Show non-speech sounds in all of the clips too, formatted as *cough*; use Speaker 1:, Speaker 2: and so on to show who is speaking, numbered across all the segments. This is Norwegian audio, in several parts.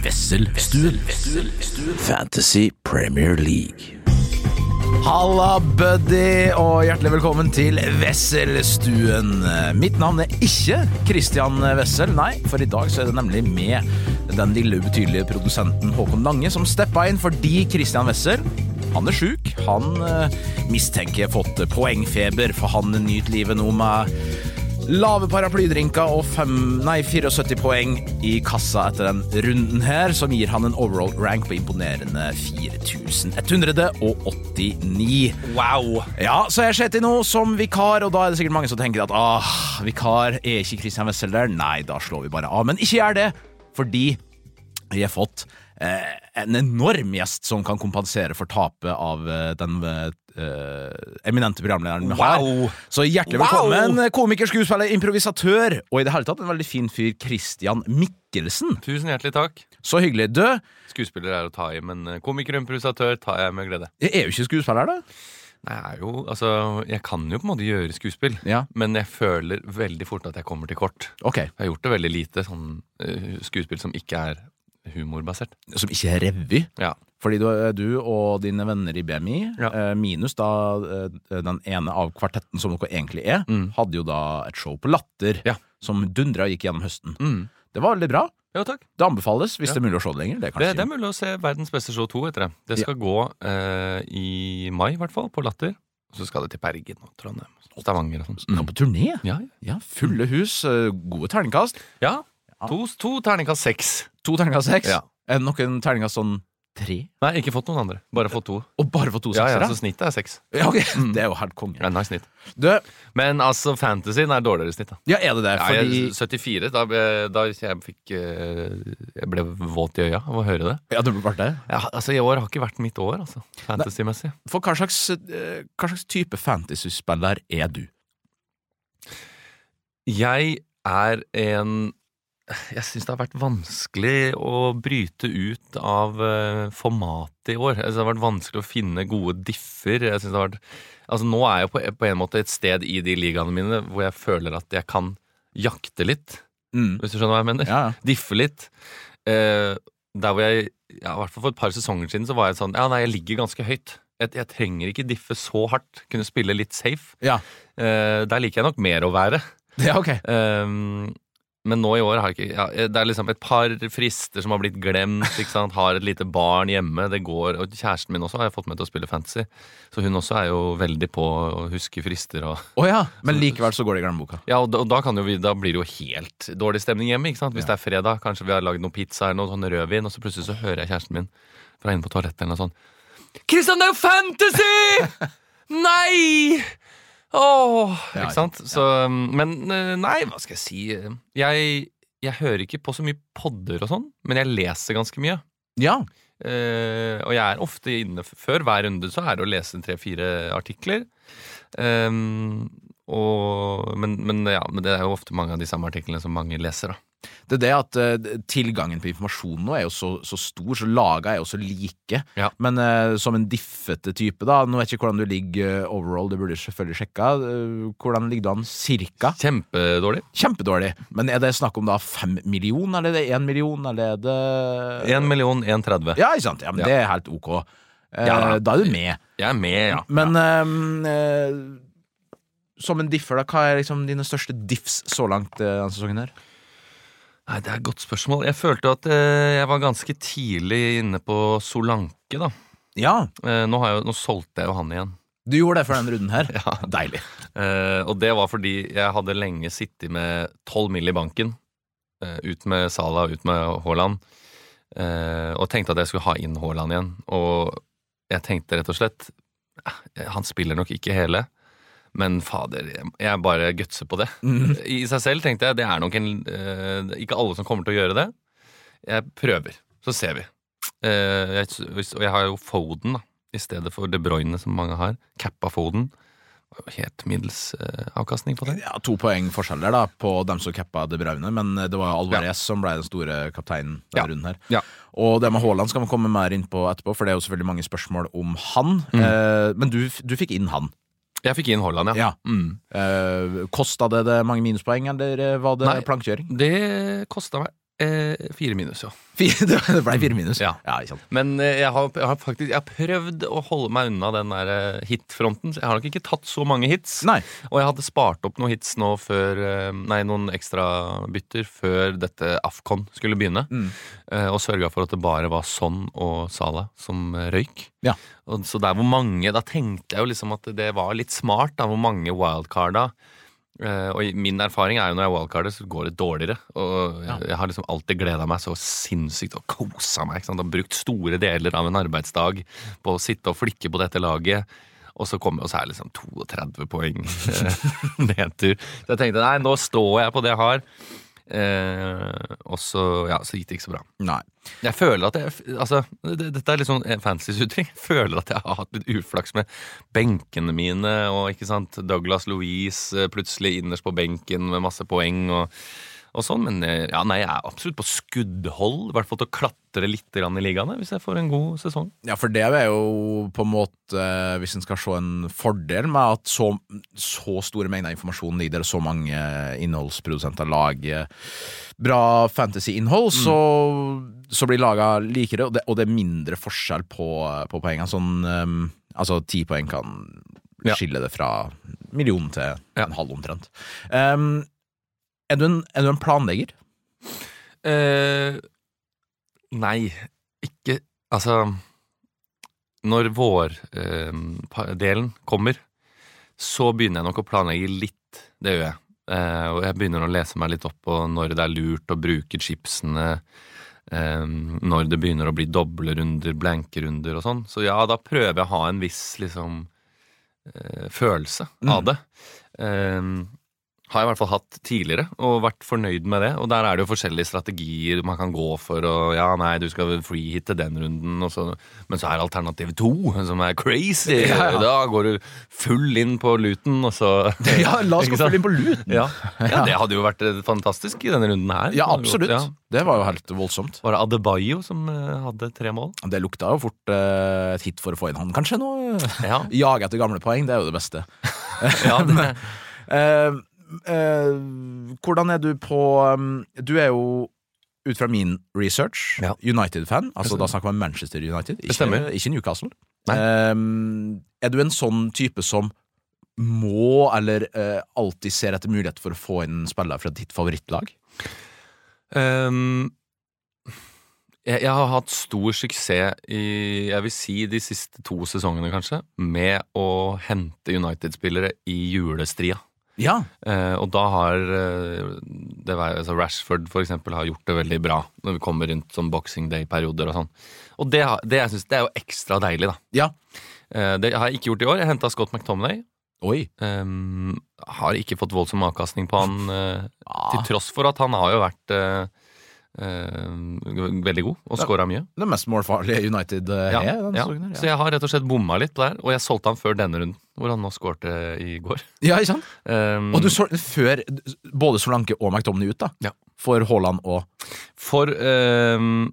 Speaker 1: Vesselstuen. Fantasy Premier League.
Speaker 2: Halla, buddy, og hjertelig velkommen til Wesselstuen. Mitt navn er ikke Christian Wessel, nei, for i dag så er det nemlig med den lille ubetydelige produsenten Håkon Lange som steppa inn fordi Christian Wessel han er sjuk. Han eh, mistenker jeg har fått poengfeber, for han nyter livet nå med lave paraplydrinker og fem, nei, 74 poeng i kassa etter den runden her, som gir han en overall rank på imponerende 4189.
Speaker 3: Wow.
Speaker 2: Ja, så jeg sitter nå som vikar, og da er det sikkert mange som tenker at ah, vikar er ikke Christian Wessel der. Nei, da slår vi bare av. Men ikke gjør det, fordi vi har fått eh, en enorm gjest som kan kompensere for tapet av eh, den eh, eminente programlederen vi har.
Speaker 3: Wow.
Speaker 2: Så hjertelig
Speaker 3: Wow.
Speaker 2: velkommen, eh, komiker, skuespiller, improvisatør og i det hele tatt en veldig fin fyr, Christian Mikkelsen.
Speaker 3: Tusen hjertelig takk.
Speaker 2: Så hyggelig. Du,
Speaker 3: Skuespiller er å ta i, men eh, komiker og improvisatør tar jeg med glede.
Speaker 2: jeg er jo ikke skuespiller, da.
Speaker 3: Nei, jeg, er jo, altså, jeg kan jo på en måte gjøre skuespill,
Speaker 2: Ja.
Speaker 3: men jeg føler veldig fort at jeg kommer til kort.
Speaker 2: Ok,
Speaker 3: Jeg har gjort det veldig lite, sånn eh, skuespill som ikke er humorbasert.
Speaker 2: Som ikke er revy.
Speaker 3: Ja.
Speaker 2: Fordi du, eh, du og dine venner i BMI,
Speaker 3: Ja.
Speaker 2: eh, minus da eh, den ene av kvartetten som dere egentlig er,
Speaker 3: Mm.
Speaker 2: hadde jo da et show på Latter
Speaker 3: Ja.
Speaker 2: som dundra og gikk gjennom høsten.
Speaker 3: Mm.
Speaker 2: Det var veldig bra.
Speaker 3: Jo, takk.
Speaker 2: Det anbefales hvis
Speaker 3: Ja.
Speaker 2: det er mulig å se det lenger. Det er
Speaker 3: Det,
Speaker 2: kanskje
Speaker 3: det er mulig å se Verdens beste show 2 etter det. Det skal gå eh, i mai, i hvert fall, på Latter. Og så skal det til Bergen og Trondheim og Stavanger og
Speaker 2: Mm. Nå
Speaker 3: sånn.
Speaker 2: på turné.
Speaker 3: Ja,
Speaker 2: Ja, fulle hus, eh, gode terningkast.
Speaker 3: ja. To, to terningkast seks.
Speaker 2: To terningkast seks.
Speaker 3: Ja.
Speaker 2: Er det noen terningkast sånn tre?
Speaker 3: Nei, ikke fått noen andre. Bare fått to.
Speaker 2: Og bare for to
Speaker 3: Ja, ja,
Speaker 2: seksere? Mm.
Speaker 3: så snittet er seks.
Speaker 2: Ja, *laughs* ok. Det er jo helt konge.
Speaker 3: Ja, nice snitt.
Speaker 2: Du,
Speaker 3: Men altså, fantasyen er dårligere snitt, da.
Speaker 2: ja, er det det?
Speaker 3: Ja,
Speaker 2: Fordi
Speaker 3: jeg, 74, da, ble- da jeg fikk eh, Jeg ble våt i øya av å høre det.
Speaker 2: Ja, det ble det.
Speaker 3: Ja, altså, I år har ikke vært mitt år, altså. Fantasy-messig.
Speaker 2: For hva slags, eh, hva slags type fantasyspiller er du?
Speaker 3: Jeg er en Jeg syns det har vært vanskelig å bryte ut av eh, formatet i år. Jeg synes det har vært vanskelig å finne gode differ. Jeg synes det har vært Altså Nå er jeg på, på en måte et sted i de ligaene mine hvor jeg føler at jeg kan jakte litt,
Speaker 2: Mm.
Speaker 3: hvis du skjønner hva jeg mener.
Speaker 2: Ja, *laughs* ja.
Speaker 3: diffe litt. Eh, der hvor jeg, ja, i hvert fall for et par sesonger siden, så var jeg sånn Ja, nei, jeg ligger ganske høyt. Jeg, jeg trenger ikke diffe så hardt. Kunne spille litt safe.
Speaker 2: Ja.
Speaker 3: Eh, der liker jeg nok mer å være.
Speaker 2: Ja, ok.
Speaker 3: Ehm, men nå i år har jeg ikke ja, Det er liksom et par frister som har blitt glemt. Ikke sant? Har et lite barn hjemme. Det går, og Kjæresten min også har jeg fått med til å spille fantasy. Så hun også er jo veldig på å huske frister og
Speaker 2: Å ja, men likevel så går det i glemmeboka.
Speaker 3: Ja, og da, og da, kan jo vi, da blir det jo helt dårlig stemning hjemme. ikke sant? Hvis det er fredag, kanskje vi har lagd noe pizza eller noe sånn rødvin, og så plutselig så hører jeg kjæresten min fra inne på toalettet eller noe sånt. Kristian, det er jo fantasy! nei! Åh,
Speaker 2: Ja,
Speaker 3: ikke sant? Så, men eh, nei, hva skal jeg si? Jeg, jeg hører ikke på så mye podder og sånn, men jeg leser ganske mye.
Speaker 2: Ja,
Speaker 3: Eh, og jeg er ofte inne f- Før hver runde så er det å lese tre-fire artikler. Ehm, og, men, men, ja, men det er jo ofte mange av de samme artiklene som mange leser. Da.
Speaker 2: det er det at eh, tilgangen på informasjon nå er jo så, så stor, så laga er jo så like.
Speaker 3: Ja.
Speaker 2: Men eh, som en diffete type, da. Nå vet jeg ikke hvordan du ligger eh, overall, det burde du selvfølgelig sjekka. Eh, hvordan ligger du an cirka?
Speaker 3: Kjempedårlig.
Speaker 2: Kjempedårlig. Men er det snakk om da fem million, eller er det én million, eller er det
Speaker 3: 1 million 1,30.
Speaker 2: Ja, ikke sant. Ja, men
Speaker 3: Ja.
Speaker 2: det er helt ok. Eh,
Speaker 3: Ja, da.
Speaker 2: da. er du med.
Speaker 3: Jeg er med, ja.
Speaker 2: Men ehm, eh, som en differ, da, hva er liksom dine største diffs så langt eh, denne sesongen her?
Speaker 3: Nei, Det er et godt spørsmål. Jeg følte at eh, jeg var ganske tidlig inne på Solanke, da.
Speaker 2: Ja,
Speaker 3: Eh, nå, har jeg, jo- nå solgte jeg jo han igjen.
Speaker 2: Du gjorde det for den runden *laughs* her.
Speaker 3: Ja.
Speaker 2: Deilig.
Speaker 3: Eh, og det var fordi jeg hadde lenge sittet med 12 mill. i banken. eh, ut med Salah, ut med Haaland. eh, og tenkte at jeg skulle ha inn Haaland igjen. Og jeg tenkte rett og slett eh, Han spiller nok ikke hele, men fader, jeg- jeg bare gutser på det.
Speaker 2: Mm.
Speaker 3: I seg selv tenkte jeg det er nok en eh, Ikke alle som kommer til å gjøre det. Jeg prøver, så ser vi. Eh, jeg, hvis- og jeg har jo Foden, da. I stedet for De Bruyne, som mange har. Cappa Foden. Det var jo Helt middels eh, avkastning på det.
Speaker 2: Ja, to poeng forskjell der da på dem som cappa De Braune, men eh, det var Alvarez som ble den store kapteinen denne
Speaker 3: Ja.
Speaker 2: runden her.
Speaker 3: Ja.
Speaker 2: Og det med Haaland skal vi komme mer inn på etterpå, for det er jo selvfølgelig mange spørsmål om han. Eh, men du, du fikk inn han.
Speaker 3: Jeg fikk inn Haaland,
Speaker 2: Ja.
Speaker 3: ja. Mm.
Speaker 2: Eh, Kosta det det mange minuspoeng, eller eh, var det
Speaker 3: Nei.
Speaker 2: plankkjøring?
Speaker 3: Det kosta meg eh, fire minus, ja.
Speaker 2: Fire- *laughs* Det ble fire minus.
Speaker 3: Ja.
Speaker 2: ikke sant.
Speaker 3: Men eh, jeg har, jeg har faktisk jeg har prøvd å holde meg unna den der eh, hitfronten. så Jeg har nok ikke tatt så mange hits.
Speaker 2: Nei.
Speaker 3: Og jeg hadde spart opp noen hits nå før eh, Nei, noen ekstra bytter før dette Afcon skulle begynne.
Speaker 2: Mm.
Speaker 3: eh, Og sørga for at det bare var Son og Salah som eh, røyk.
Speaker 2: Ja.
Speaker 3: Og så der hvor mange Da tenkte jeg jo liksom at det var litt smart, da, hvor mange wildcarda. Eh, og i- min erfaring er jo når jeg wildcarder, så går det dårligere. Og jeg, jeg har liksom alltid gleda meg så sinnssykt og kosa meg. Ikke sant? Og brukt store deler av en arbeidsdag på å sitte og flikke på dette laget. Og så kommer og så er det liksom 32 poeng eh, *laughs* nedtur. Så jeg tenkte nei, nå står jeg på det jeg har. Eh, og så, ja, så gikk det ikke så bra.
Speaker 2: Nei.
Speaker 3: Jeg føler at jeg Altså, det- dette er litt sånn fantasy-uttrykk. Jeg føler at jeg har hatt litt uflaks med benkene mine og ikke sant, Douglas Louise eh, plutselig innerst på benken med masse poeng og, og sånn. Men eh, ja, nei, jeg er absolutt på skuddhold, i hvert fall til å klatre litt grann i ligaene hvis jeg får en god sesong.
Speaker 2: Ja, for det er jo på en måte, eh, hvis en skal se en fordel med at så, så store mengder informasjon ligger der, og så mange innholdsprodusenter lager bra fantasy-innhold,
Speaker 3: Mm.
Speaker 2: så, så blir laga likere, og det, og det er mindre forskjell på, på poengene. Sånn, eh, altså ti poeng kan
Speaker 3: Ja.
Speaker 2: skille det fra millionen til
Speaker 3: Ja.
Speaker 2: en halv omtrent. Eh, er, du en, er du en
Speaker 3: *laughs*
Speaker 2: planlegger?
Speaker 3: Eh, nei, ikke Altså Når vårdelen kommer, så begynner jeg nok å planlegge litt. Det gjør jeg. Eh, og jeg begynner å lese meg litt opp på når det er lurt å bruke chipsene. eh, når det begynner å bli doble runder, blanke runder og sånn. Så ja, da prøver jeg å ha en viss liksom eh, følelse av det. Eh, har jeg i hvert fall hatt tidligere, og vært fornøyd med det. Og der er det jo forskjellige strategier man kan gå for, og ja, nei, du skal freehitte den runden, og så, men så er alternativ to, som er crazy.
Speaker 2: Ja, ja.
Speaker 3: Da går du full inn på luten, og så Ikke sant?
Speaker 2: på lut!
Speaker 3: *laughs* Ja. ja, det hadde jo vært eh, fantastisk i denne runden her.
Speaker 2: Ja, absolutt.
Speaker 3: Ja.
Speaker 2: Det var jo helt voldsomt.
Speaker 3: Var det Adebayo som eh, hadde tre mål?
Speaker 2: Det lukta jo fort eh, et hit for å få inn han. Kanskje nå
Speaker 3: Ja,
Speaker 2: Jage etter gamle poeng, det er jo det beste.
Speaker 3: ja det,
Speaker 2: Eh, eh, hvordan er du på um, Du er jo ut fra min research
Speaker 3: Ja.
Speaker 2: United-fan. Altså Da snakker man Manchester United,
Speaker 3: Det stemmer.
Speaker 2: ikke, ikke Newcastle.
Speaker 3: Nei.
Speaker 2: Eh, er du en sånn type som må, eller eh, alltid ser etter mulighet for å få inn spillere fra ditt favorittlag?
Speaker 3: Ehm, jeg, jeg har hatt stor suksess i jeg vil si de siste to sesongene, kanskje, med å hente United-spillere i julestria.
Speaker 2: Ja.
Speaker 3: Eh, og da har eh, det var, altså Rashford for eksempel har gjort det veldig bra når vi kommer rundt sånn Boxing Day-perioder og sånn. Og det, har- det, jeg synes, det er jo ekstra deilig, da.
Speaker 2: ja.
Speaker 3: Eh, det har jeg ikke gjort i år. Jeg henta Scott McTominay.
Speaker 2: Oi.
Speaker 3: Ehm, har ikke fått voldsom avkastning på han. eh,
Speaker 2: Ah,
Speaker 3: til tross for at han har jo vært eh, eh, veldig god og scora mye.
Speaker 2: det mest målfarlige United eh,
Speaker 3: Ja,
Speaker 2: er denne
Speaker 3: ja.
Speaker 2: sesongen. her,
Speaker 3: Så jeg har rett og slett bomma litt der, og jeg solgte han før denne runden, hvor han nå skårte i går.
Speaker 2: Ja, ikke sant?
Speaker 3: Um,
Speaker 2: Og du så før både Solanke og McTomney ut, da.
Speaker 3: Ja.
Speaker 2: For Haaland og
Speaker 3: For um,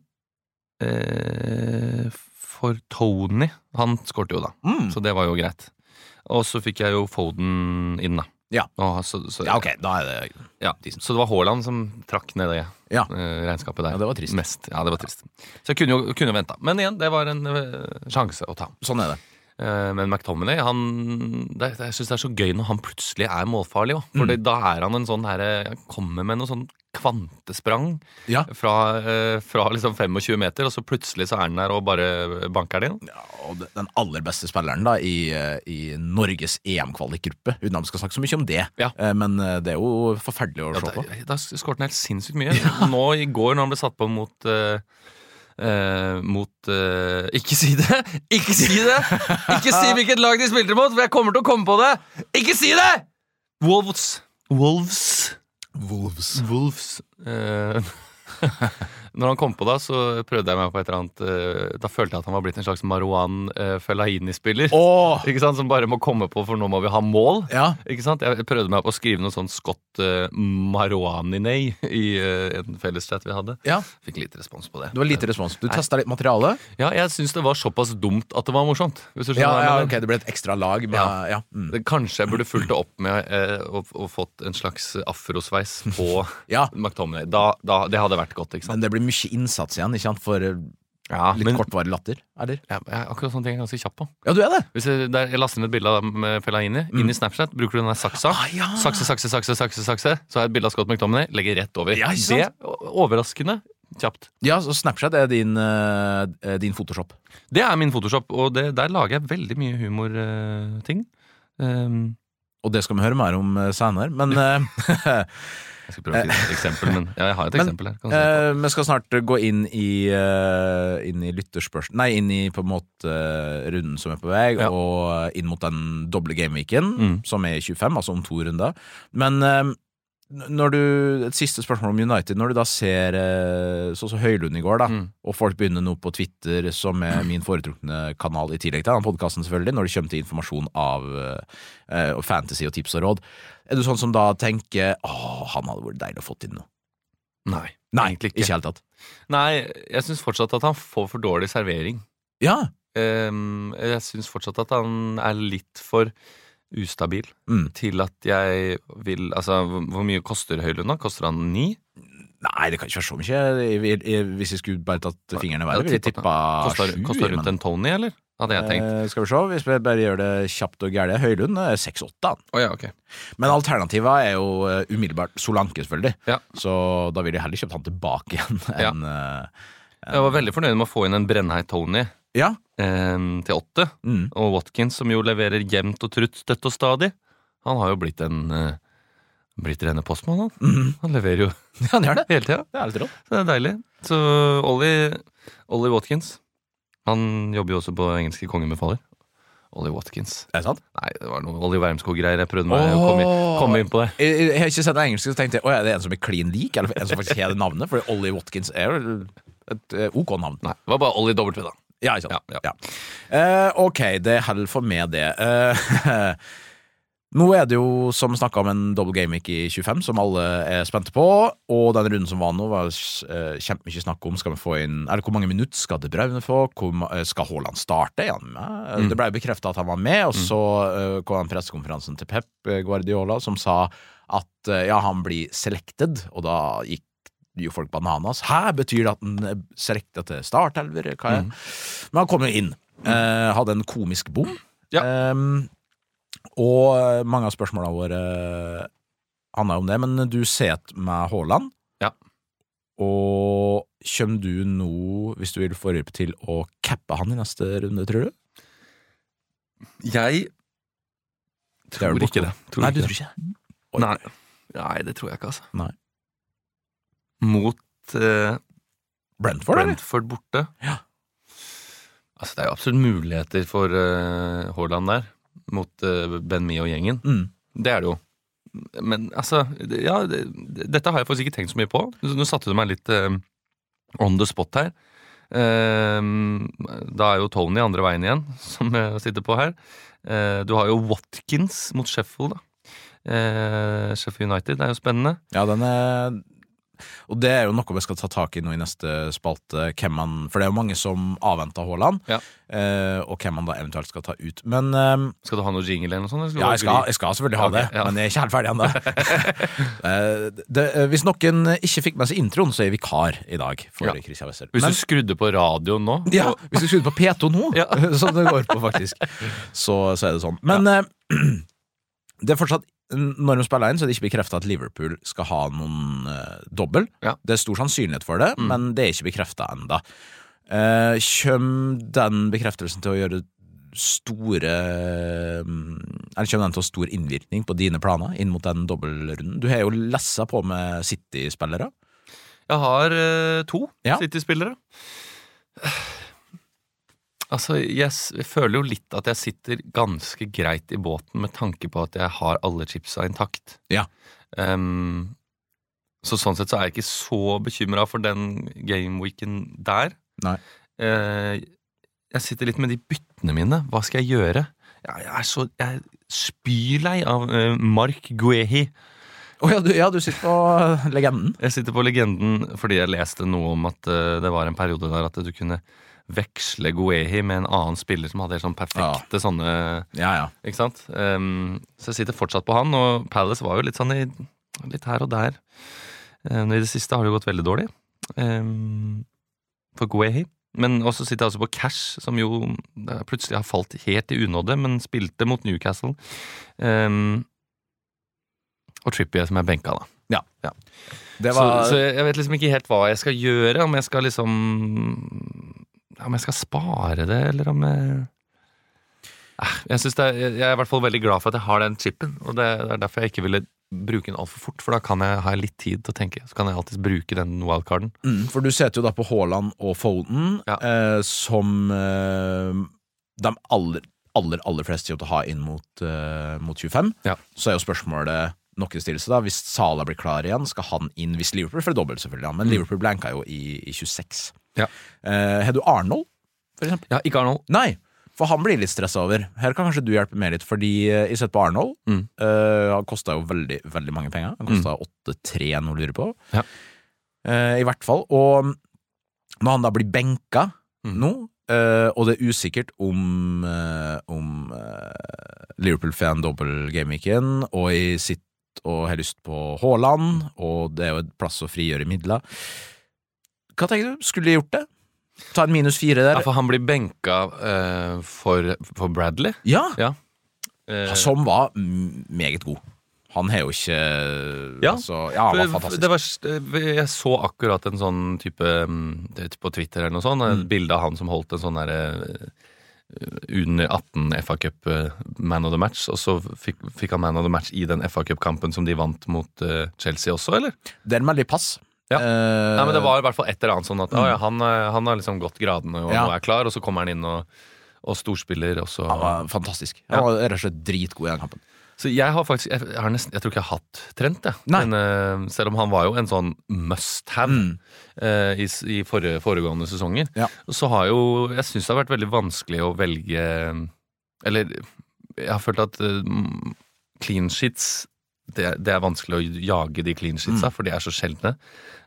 Speaker 3: eh, For Tony Han skårte jo, da.
Speaker 2: mm.
Speaker 3: Så det var jo greit. Og så fikk jeg jo Foden inn, da.
Speaker 2: Ja.
Speaker 3: Og så, så,
Speaker 2: Ja, ok, da er det
Speaker 3: ja. så det var Haaland som trakk ned det
Speaker 2: Ja.
Speaker 3: eh, regnskapet der.
Speaker 2: Ja, det var trist.
Speaker 3: Mest. Ja, det var trist. Så jeg kunne jo kunne venta. Men igjen, det var en eh, sjanse å ta.
Speaker 2: Sånn er det.
Speaker 3: Eh, Men McTominay, han, det, jeg synes det er så gøy når han plutselig er målfarlig. også. For det- da er han en sånn herre Han kommer med noe sånn kvantesprang
Speaker 2: Ja.
Speaker 3: fra, eh, fra liksom 25 meter, og så plutselig så er han der og bare banker det inn.
Speaker 2: ja og det- den aller beste spilleren da i, eh, i Norges EM-kvalikgruppe. Uten at vi skal snakke så mye om det,
Speaker 3: Ja.
Speaker 2: Eh, men eh, det er jo forferdelig å
Speaker 3: Ja,
Speaker 2: se
Speaker 3: da
Speaker 2: på.
Speaker 3: da skåret han helt sinnssykt *laughs* mye. Nå i går, når han ble satt på mot eh, eh, mot eh, Ikke si det! *laughs* Ikke si det! Ikke *laughs* si hvilket lag de spilte mot, for jeg kommer til å komme på det! Ikke si det! Wolves. Wolves.
Speaker 2: Wolves.
Speaker 3: Wolves. Eh, *laughs* Når han kom på da, så prøvde jeg meg på et eller annet eh, Da følte jeg at han var blitt en slags Marwan eh, Fellaini-spiller.
Speaker 2: Åh!
Speaker 3: Ikke sant, Som bare må komme på, for nå må vi ha mål.
Speaker 2: Ja.
Speaker 3: Ikke sant? Jeg prøvde meg på å skrive noe sånn Scott eh, Marouaninei i eh, en felleschat vi hadde.
Speaker 2: ja.
Speaker 3: Fikk litt respons på det.
Speaker 2: Du har lite respons. Du testa litt materiale.
Speaker 3: Ja, jeg syns det var såpass dumt at det var morsomt. Hvis du skjønner
Speaker 2: Ja,
Speaker 3: hva jeg
Speaker 2: ja,
Speaker 3: mener.
Speaker 2: ok, Det ble et ekstra lag. Med,
Speaker 3: Ja.
Speaker 2: ja. Mm.
Speaker 3: Det- Kanskje jeg burde fulgt det opp med eh, og, og fått en slags afrosveis på
Speaker 2: *laughs* ja.
Speaker 3: McTominay. Da, da, det hadde vært godt, ikke sant?
Speaker 2: Men det blir mye innsats igjen ikke sant? for eh,
Speaker 3: Ja,
Speaker 2: litt
Speaker 3: men
Speaker 2: kortvarig latter. Eller?
Speaker 3: ja, ja, akkurat sånne ting er jeg ganske kjapp på.
Speaker 2: Ja, du er det!
Speaker 3: Hvis jeg, der, jeg laster inn et bilde av med Fellaini inn i Snapchat. Bruker du den der saksa?
Speaker 2: Mm. Ah, ja.
Speaker 3: Sakse, sakse, sakse, sakse, sakse. Så har jeg et bilde av Scott McTominay. Legger rett over.
Speaker 2: Ja, ikke
Speaker 3: det
Speaker 2: sant?
Speaker 3: er o- overraskende kjapt.
Speaker 2: Ja, så Snapchat er din, eh, din Photoshop.
Speaker 3: Det er min Photoshop, og det, der lager jeg veldig mye eh, humorting. Um,
Speaker 2: Og det skal vi høre mer om eh, senere. Men eh, *laughs*
Speaker 3: jeg skal prøve å finne et eksempel, men ja, jeg har et
Speaker 2: Men,
Speaker 3: eksempel her. Kan du se.
Speaker 2: eh, vi skal snart gå inn i, uh, inn i lytterspørsmål Nei, inn i på en måte eh, runden som er på vei,
Speaker 3: Ja.
Speaker 2: og eh, inn mot den doble gameweeken,
Speaker 3: Mm.
Speaker 2: som er i 25, altså om to runder. Men eh, når du, et siste spørsmål om United. Når du da ser eh, sånn som Høylund i går, da,
Speaker 3: Mm.
Speaker 2: og folk begynner nå på Twitter, som er min foretrukne kanal i tillegg til den podkasten, selvfølgelig, når det kommer til informasjon av eh, eh, fantasy og tips og råd, er du sånn som da tenker Åh, han hadde vært deilig å få inn noe?
Speaker 3: Nei.
Speaker 2: Nei,
Speaker 3: Egentlig
Speaker 2: ikke
Speaker 3: ikke.
Speaker 2: i hele tatt.
Speaker 3: Nei, jeg syns fortsatt at han får for dårlig servering.
Speaker 2: Ja.
Speaker 3: Ehm, jeg syns fortsatt at han er litt for ustabil
Speaker 2: Mm.
Speaker 3: til at jeg vil Altså, hvor hvor mye koster Høylund, da? Koster han ni?
Speaker 2: Nei, det kan ikke være så mye. Jeg- jeg- jeg- Hvis jeg skulle bare tatt fingrene i været,
Speaker 3: Jeg
Speaker 2: ville jeg
Speaker 3: tippet
Speaker 2: tippa
Speaker 3: Koster
Speaker 2: sju.
Speaker 3: koster rundt
Speaker 2: men-
Speaker 3: en Tony, eller? Hadde jeg tenkt.
Speaker 2: Eh, skal vi se, hvis vi bare gjør det kjapt og gærent. Høylund er 6-8, han.
Speaker 3: Å ja, ok.
Speaker 2: Men alternativa er jo eh, umiddelbart Solanke, selvfølgelig.
Speaker 3: Ja.
Speaker 2: Så da ville jeg heller kjøpt han tilbake igjen
Speaker 3: Ja.
Speaker 2: enn eh,
Speaker 3: Jeg var veldig fornøyd med å få inn en Brennheit Tony
Speaker 2: Ja.
Speaker 3: ehm, til åtte.
Speaker 2: Mm.
Speaker 3: Og Watkins, som jo leverer jevnt og trutt, støtt og stadig. Han har jo blitt en eh, blitt rene postmann, han. Han leverer jo
Speaker 2: Mm. ja, han gjør det.
Speaker 3: *laughs* hele tida.
Speaker 2: Det er litt rått.
Speaker 3: Så det er deilig. Så Ollie, Ollie Watkins Han jobber jo også på engelske kongebefaler. Ollie Watkins.
Speaker 2: Er det sant?
Speaker 3: Nei, det var noe Ollie Wermskog-greier. Jeg prøvde meg å komme, inn-
Speaker 2: Åh.
Speaker 3: komme inn på det.
Speaker 2: Jeg, jeg har ikke sett det engelske, så tenkte jeg å, er det en som er klin lik, eller en som faktisk har det navnet? Fordi Ollie Watkins er jo et eh, ok navn.
Speaker 3: Nei, Det var bare Ollie W, da.
Speaker 2: Ja, ikke sant.
Speaker 3: Ja, ja.
Speaker 2: Ja. Eh, ok, det holder for meg, det. Eh, *laughs* nå er det jo, som snakka om, en double game week i 25, som alle er spente på. Og den runden som var nå, var uh, kjempemye snakk om skal vi få inn Eller hvor mange minutter skal De Braune få? Hvor, ma- eh, skal Haaland starte? Er han med? Eh, Det ble bekrefta at han var med, og så eh, kom den pressekonferansen til Pep eh, Guardiola, som sa at eh, ja, han blir selected, og da gikk jo folk bananas. Hæ, betyr det at han er selected til startelver? eller Hva er men han kom jo inn. Eh, hadde en komisk bom.
Speaker 3: Ja.
Speaker 2: Ehm, og mange av spørsmålene våre handla om det, men du set med Haaland.
Speaker 3: Ja.
Speaker 2: Og kommer du nå, hvis du vil forhjelpe til, å cappe han i neste runde, tror du?
Speaker 3: Jeg
Speaker 2: er
Speaker 3: tror
Speaker 2: du borte.
Speaker 3: ikke det. Tror
Speaker 2: Nei, du
Speaker 3: ikke det.
Speaker 2: tror ikke det? Oi.
Speaker 3: Nei. Nei, det tror jeg ikke, altså.
Speaker 2: Nei.
Speaker 3: Mot eh,
Speaker 2: Brentford, eller?
Speaker 3: Brentford borte.
Speaker 2: Ja.
Speaker 3: Altså, det er jo absolutt muligheter for eh, Haaland der, mot eh, Ben Mee og gjengen.
Speaker 2: Mm.
Speaker 3: Det er det jo. Men altså det- Ja, det, det- dette har jeg faktisk ikke tenkt så mye på. Så Nå satte du meg litt eh, on the spot her. Eh, da er jo Tony andre veien igjen, *laughs* som jeg sitter på her. Eh, du har jo Watkins mot Sheffield, da. Eh, Sheffield United, det er jo spennende.
Speaker 2: Ja, den er og det er jo noe vi skal ta tak i nå i neste spalte, hvem man, for det er jo mange som avventer Haaland,
Speaker 3: Ja.
Speaker 2: eh, og hvem man da eventuelt skal ta ut. Men ehm,
Speaker 3: Skal du ha noe jingle eller noe sånt? eller
Speaker 2: Ja,
Speaker 3: du
Speaker 2: jeg skal, jeg skal selvfølgelig ha
Speaker 3: Ok,
Speaker 2: det,
Speaker 3: ja.
Speaker 2: men jeg er ikke helt
Speaker 3: *laughs*
Speaker 2: ferdig ennå. Eh, det- eh, Hvis noen ikke fikk med seg introen, så er jeg vikar i dag for
Speaker 3: Ja.
Speaker 2: Christian Wessel.
Speaker 3: Hvis
Speaker 2: Men-
Speaker 3: du skrudde på radioen nå
Speaker 2: ja, hvis du skrur på P2 nå,
Speaker 3: Ja.
Speaker 2: *laughs* som det går på faktisk, så, så er det sånn. Men eh, *clears throat* det er fortsatt når de spiller inn, så er det ikke bekrefta at Liverpool skal ha noen uh, dobbel.
Speaker 3: Ja.
Speaker 2: Det er stor sannsynlighet for det,
Speaker 3: Mm.
Speaker 2: men det er ikke bekrefta ennå. Kjem den bekreftelsen til å gjøre store eh, Eller kommer den til å ha stor innvirkning på dine planer inn mot den dobbeltrunden? Du har jo lessa på med City-spillere.
Speaker 3: Jeg har eh, to
Speaker 2: Ja.
Speaker 3: City-spillere. *sighs* Altså, jeg, s- jeg føler jo litt at jeg sitter ganske greit i båten med tanke på at jeg har alle chipsa intakt.
Speaker 2: Ja.
Speaker 3: Ehm, Så sånn sett så er jeg ikke så bekymra for den gameweeken der.
Speaker 2: Nei.
Speaker 3: Eh, jeg sitter litt med de byttene mine. Hva skal jeg gjøre? Jeg, jeg er så jeg er spylei av eh, Mark Guehi.
Speaker 2: Å ja, du, ja, du sitter på eh, legenden.
Speaker 3: Jeg sitter på legenden fordi jeg leste noe om at eh, det var en periode der at du kunne veksle Guehi med en annen spiller som hadde helt sånn perfekte sånne
Speaker 2: Ja, ja.
Speaker 3: Ikke sant? Ehm, så jeg sitter fortsatt på han, og Palace var jo litt sånn i, litt her og der. Eh, Nå I det siste har det jo gått veldig dårlig ehm, for Guehi. Men også sitter jeg altså på Cash, som jo eh, plutselig har falt helt i unåde, men spilte mot Newcastle. Ehm, og Trippier, som er benka, da.
Speaker 2: Det var
Speaker 3: Så, så jeg jeg vet liksom ikke helt hva jeg skal gjøre. Om jeg skal liksom Om jeg skal spare det, eller om jeg Eh, Jeg, synes det er, jeg er i hvert fall veldig glad for at jeg har den chipen. Og det det er derfor jeg ikke ville bruke den altfor fort, for da kan jeg ha litt tid til å tenke. Så kan jeg alltid bruke den wildcarden.
Speaker 2: Mm, for du setter jo da på Haaland og Foden
Speaker 3: Ja.
Speaker 2: eh, som eh, de aller, aller, aller fleste kommer til å ha inn mot, eh, mot 25.
Speaker 3: Ja.
Speaker 2: Så er jo spørsmålet nokkenstillelse, da. Hvis Sala blir klar igjen, skal han inn hvis Liverpool får dobbelt, selvfølgelig. ja, Men Liverpool blanka jo i, i 26.
Speaker 3: Mm. Ja.
Speaker 2: Eh, har du Arnold?
Speaker 3: Ja, ikke Arnold.
Speaker 2: Nei, for han blir litt stressa over. Her kan kanskje du hjelpe meg litt, fordi eh, jeg sett på Arnold.
Speaker 3: Mm.
Speaker 2: Eh, han kosta jo veldig, veldig mange penger. Han kosta 8-3, noe du lurer på.
Speaker 3: Ja.
Speaker 2: Eh, I hvert fall. Og når han da blir benka
Speaker 3: Mm.
Speaker 2: nå, eh, og det er usikkert om, eh, om eh, Liverpool-fan dobbel gameweeken, og jeg sitter og har lyst på Haaland, og det er jo et plass å frigjøre midler Hva tenker du? Skulle jeg gjort det? Ta en minus fire
Speaker 3: Ja,
Speaker 2: der?
Speaker 3: for han blir benka eh, for, for Bradley.
Speaker 2: Ja!
Speaker 3: Eh,
Speaker 2: Som var m- meget god. Han har jo ikke
Speaker 3: Ja.
Speaker 2: altså, ja han var
Speaker 3: For-
Speaker 2: fantastisk.
Speaker 3: Det var, s- jeg så akkurat en sånn type mm, det er På Twitter eller noe sånt, et
Speaker 2: Mm.
Speaker 3: bilde av han som holdt en sånn derre under 18 FA Cup eh, Man of the Match, og så fikk, fikk han Man of the Match i den FA Cup-kampen som de vant mot eh, Chelsea også, eller?
Speaker 2: Den med litt pass.
Speaker 3: Ja.
Speaker 2: Eh, mm.
Speaker 3: Nei, men Det var i hvert fall et eller annet sånn at å, ja, han, eh, han har liksom gått gradene og
Speaker 2: Ja.
Speaker 3: nå er klar, og så kommer han inn og, og storspiller, og så
Speaker 2: han var fantastisk. Han
Speaker 3: Ja.
Speaker 2: var rett og slett dritgod i den kampen.
Speaker 3: Så jeg har faktisk Jeg, jeg, har nesten, jeg tror ikke jeg har hatt Trent, jeg.
Speaker 2: Nei.
Speaker 3: Men, eh, selv om han var jo en sånn must have
Speaker 2: Mm.
Speaker 3: eh, i, s- i forrige, foregående sesonger.
Speaker 2: Ja.
Speaker 3: Og Så har jo Jeg syns det har vært veldig vanskelig å velge Eller jeg har følt at eh, mm, clean sheets det, det er vanskelig å jage de clean sheetsa, for de er så sjeldne.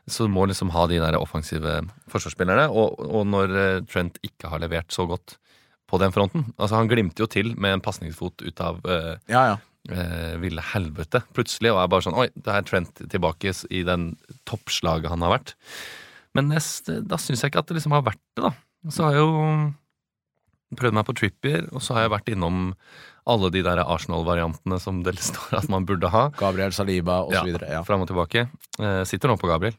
Speaker 3: Så du må liksom ha de der offensive forsvarsspillerne. Og, og når eh, Trent ikke har levert så godt på den fronten Altså Han glimter jo til med en pasningsfot ut av eh,
Speaker 2: Ja, ja.
Speaker 3: eh, ville helvete plutselig, og er bare sånn Oi, det er Trent tilbake s- i den toppslaget han har vært. Men nest, eh, da syns jeg ikke at det liksom har vært det, da. Så har jeg jo prøvd meg på Trippier, og så har jeg vært innom alle de der Arsenal-variantene som det *laughs* står at man burde ha.
Speaker 2: Gabriel Saliba og så videre. Ja.
Speaker 3: Fram og tilbake. Eh, sitter nå på Gabriel.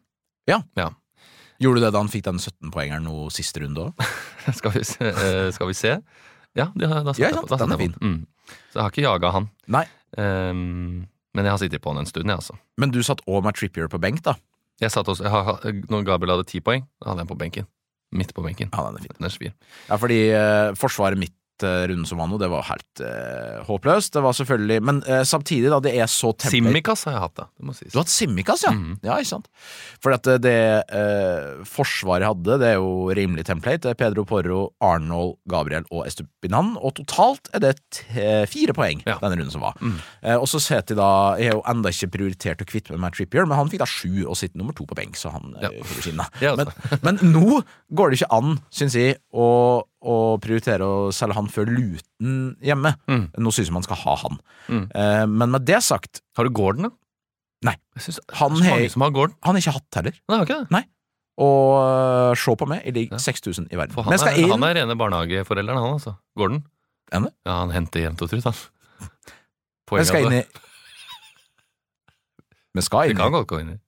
Speaker 3: *laughs*
Speaker 2: Gjorde du det da han fikk den 17-poengeren nå siste runde òg?
Speaker 3: skal, vi se, eh, skal vi se. Ja, det har,
Speaker 2: Ja,
Speaker 3: da setter jeg
Speaker 2: sant,
Speaker 3: på- da
Speaker 2: den
Speaker 3: setter
Speaker 2: er
Speaker 3: jeg på den. Mm. Så jeg har ikke jaga han.
Speaker 2: Nei.
Speaker 3: Ehm, men jeg har sittet på han en stund, jeg, altså.
Speaker 2: Men du satt òg med Trippier på benk, da.
Speaker 3: Jeg satt også, jeg har- når Gabriel hadde ti poeng, da hadde jeg den på benken. Midt på benken.
Speaker 2: Ja, den er fin.
Speaker 3: Den er svir.
Speaker 2: Ja, fordi eh, forsvaret mitt eh, runden som var nå, det var helt eh, håpløst. Det var selvfølgelig Men eh, samtidig, da, det er så temper...
Speaker 3: Simikaz har jeg hatt, da. Det må sies.
Speaker 2: Du har hatt Simmikas, ja.
Speaker 3: Mhm.
Speaker 2: Ja, ikke sant. Fordi at eh, det eh, Forsvaret hadde, det er jo rimelig template. Det er Pedro Porro, Arnold, Gabriel og Estupinan. Og totalt er det t- fire poeng
Speaker 3: Ja.
Speaker 2: denne runden som var.
Speaker 3: Mm.
Speaker 2: Eh, og så setter de da Jeg har jo enda ikke prioritert å kvitte meg med Trippier, men han fikk da sju og sitter nummer to på benk, så han
Speaker 3: Ja.
Speaker 2: eh, får
Speaker 3: *laughs*
Speaker 2: skinne.
Speaker 3: Ja,
Speaker 2: Men,
Speaker 3: altså.
Speaker 2: men nå går det ikke an, syns jeg, å, å prioritere å selge han før Luten hjemme.
Speaker 3: Mm.
Speaker 2: Nå syns jeg man skal ha han.
Speaker 3: Mm.
Speaker 2: Eh, men med det sagt,
Speaker 3: Har du Gordon, da?
Speaker 2: Nei.
Speaker 3: Jeg synes, det er
Speaker 2: Han
Speaker 3: så
Speaker 2: hei-
Speaker 3: mange som har Gordon.
Speaker 2: han er ikke hatt heller.
Speaker 3: Nei, har ikke det.
Speaker 2: Og øh, se på meg, jeg ligger
Speaker 3: Ja.
Speaker 2: 6000 i verden. Men
Speaker 3: For han,
Speaker 2: jeg skal
Speaker 3: er, han
Speaker 2: inn
Speaker 3: er rene barnehageforelderen, han altså. Gordon.
Speaker 2: Er han det?
Speaker 3: Ja, han henter jevnt og *laughs* trutt, han.
Speaker 2: Men
Speaker 3: Poenget
Speaker 2: skal
Speaker 3: er
Speaker 2: inn
Speaker 3: at
Speaker 2: i *laughs* Men skal
Speaker 3: det
Speaker 2: inn
Speaker 3: kan
Speaker 2: i
Speaker 3: godt gå inn i.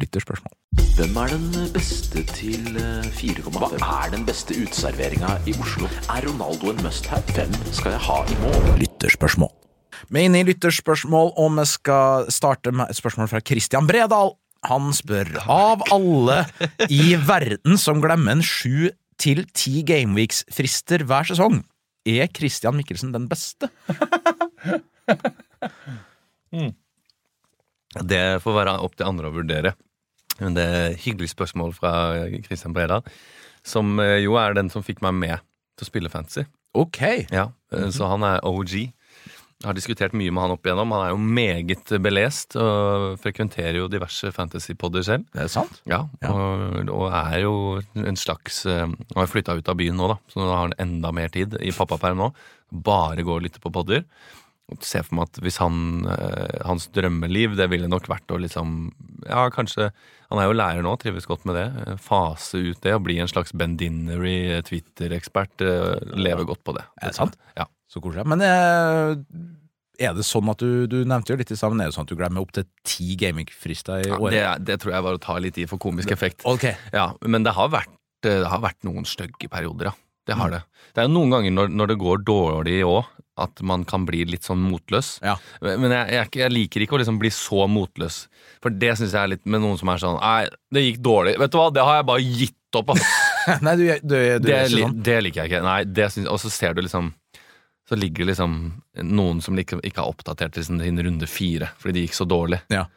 Speaker 2: lytterspørsmål.
Speaker 1: Hvem er den beste til eh, 4,5? Hva er den beste uteserveringa i Oslo? Er Ronaldo en must-have? Hvem skal jeg ha i mål?
Speaker 2: Lytterspørsmål. Vi er inne i lytterspørsmål, og vi skal starte med et spørsmål fra Christian Bredal. Han spør av alle i verden som glemmer en sju til ti gameweeks-frister hver sesong, er Christian Mikkelsen den beste?
Speaker 3: Det får være opp til andre å vurdere. Men det er et hyggelig spørsmål fra Christian Breda, som eh, jo er den som fikk meg med til å spille fantasy.
Speaker 2: Ok.
Speaker 3: Ja, eh, Så han er OG. Jeg har diskutert mye med han opp igjennom. Han er jo meget belest og frekventerer jo diverse fantasypodder selv.
Speaker 2: Det er sant.
Speaker 3: Ja,
Speaker 2: Ja.
Speaker 3: Og, og er jo en slags eh, Han har flytta ut av byen nå, da, så nå har han enda mer tid i pappaperm nå. Bare gå og lytte på podder. Se for meg at hvis han eh, hans drømmeliv, det ville nok vært å liksom Ja, kanskje Han er jo lærer nå, trives godt med det. eh, Fase ut det og bli en slags Ben Dinnery, eh, Twitter-ekspert. eh, Leve godt på det.
Speaker 2: Er det sant?
Speaker 3: Ja.
Speaker 2: Så koselig. Men eh, er det sånn at du, du nevnte jo litt i sammen, er det sånn at du glemmer opp til ti gamingfrister i
Speaker 3: Ja,
Speaker 2: året?
Speaker 3: det, er- det tror jeg var å ta litt i for komisk effekt.
Speaker 2: Ok. *laughs*
Speaker 3: Ja, men det har vært, eh, det har vært noen stygge perioder, ja. Det har det. Det er jo noen ganger når, når det går dårlig òg, at man kan bli litt sånn motløs.
Speaker 2: Ja.
Speaker 3: Men jeg, jeg, er ikke- jeg liker ikke å liksom bli så motløs. For det syns jeg er litt med noen som er sånn Nei, det gikk dårlig. Vet du hva, det har jeg bare gitt opp, ass.
Speaker 2: Nei, du, du, du, du
Speaker 3: Det,
Speaker 2: er
Speaker 3: li-
Speaker 2: ikke sånn.
Speaker 3: det liker jeg ikke. Nei, det syns- Og så ser du liksom Så ligger det liksom noen som liksom ikke har oppdatert til sin, sin runde fire fordi det gikk så dårlig.
Speaker 2: Ja.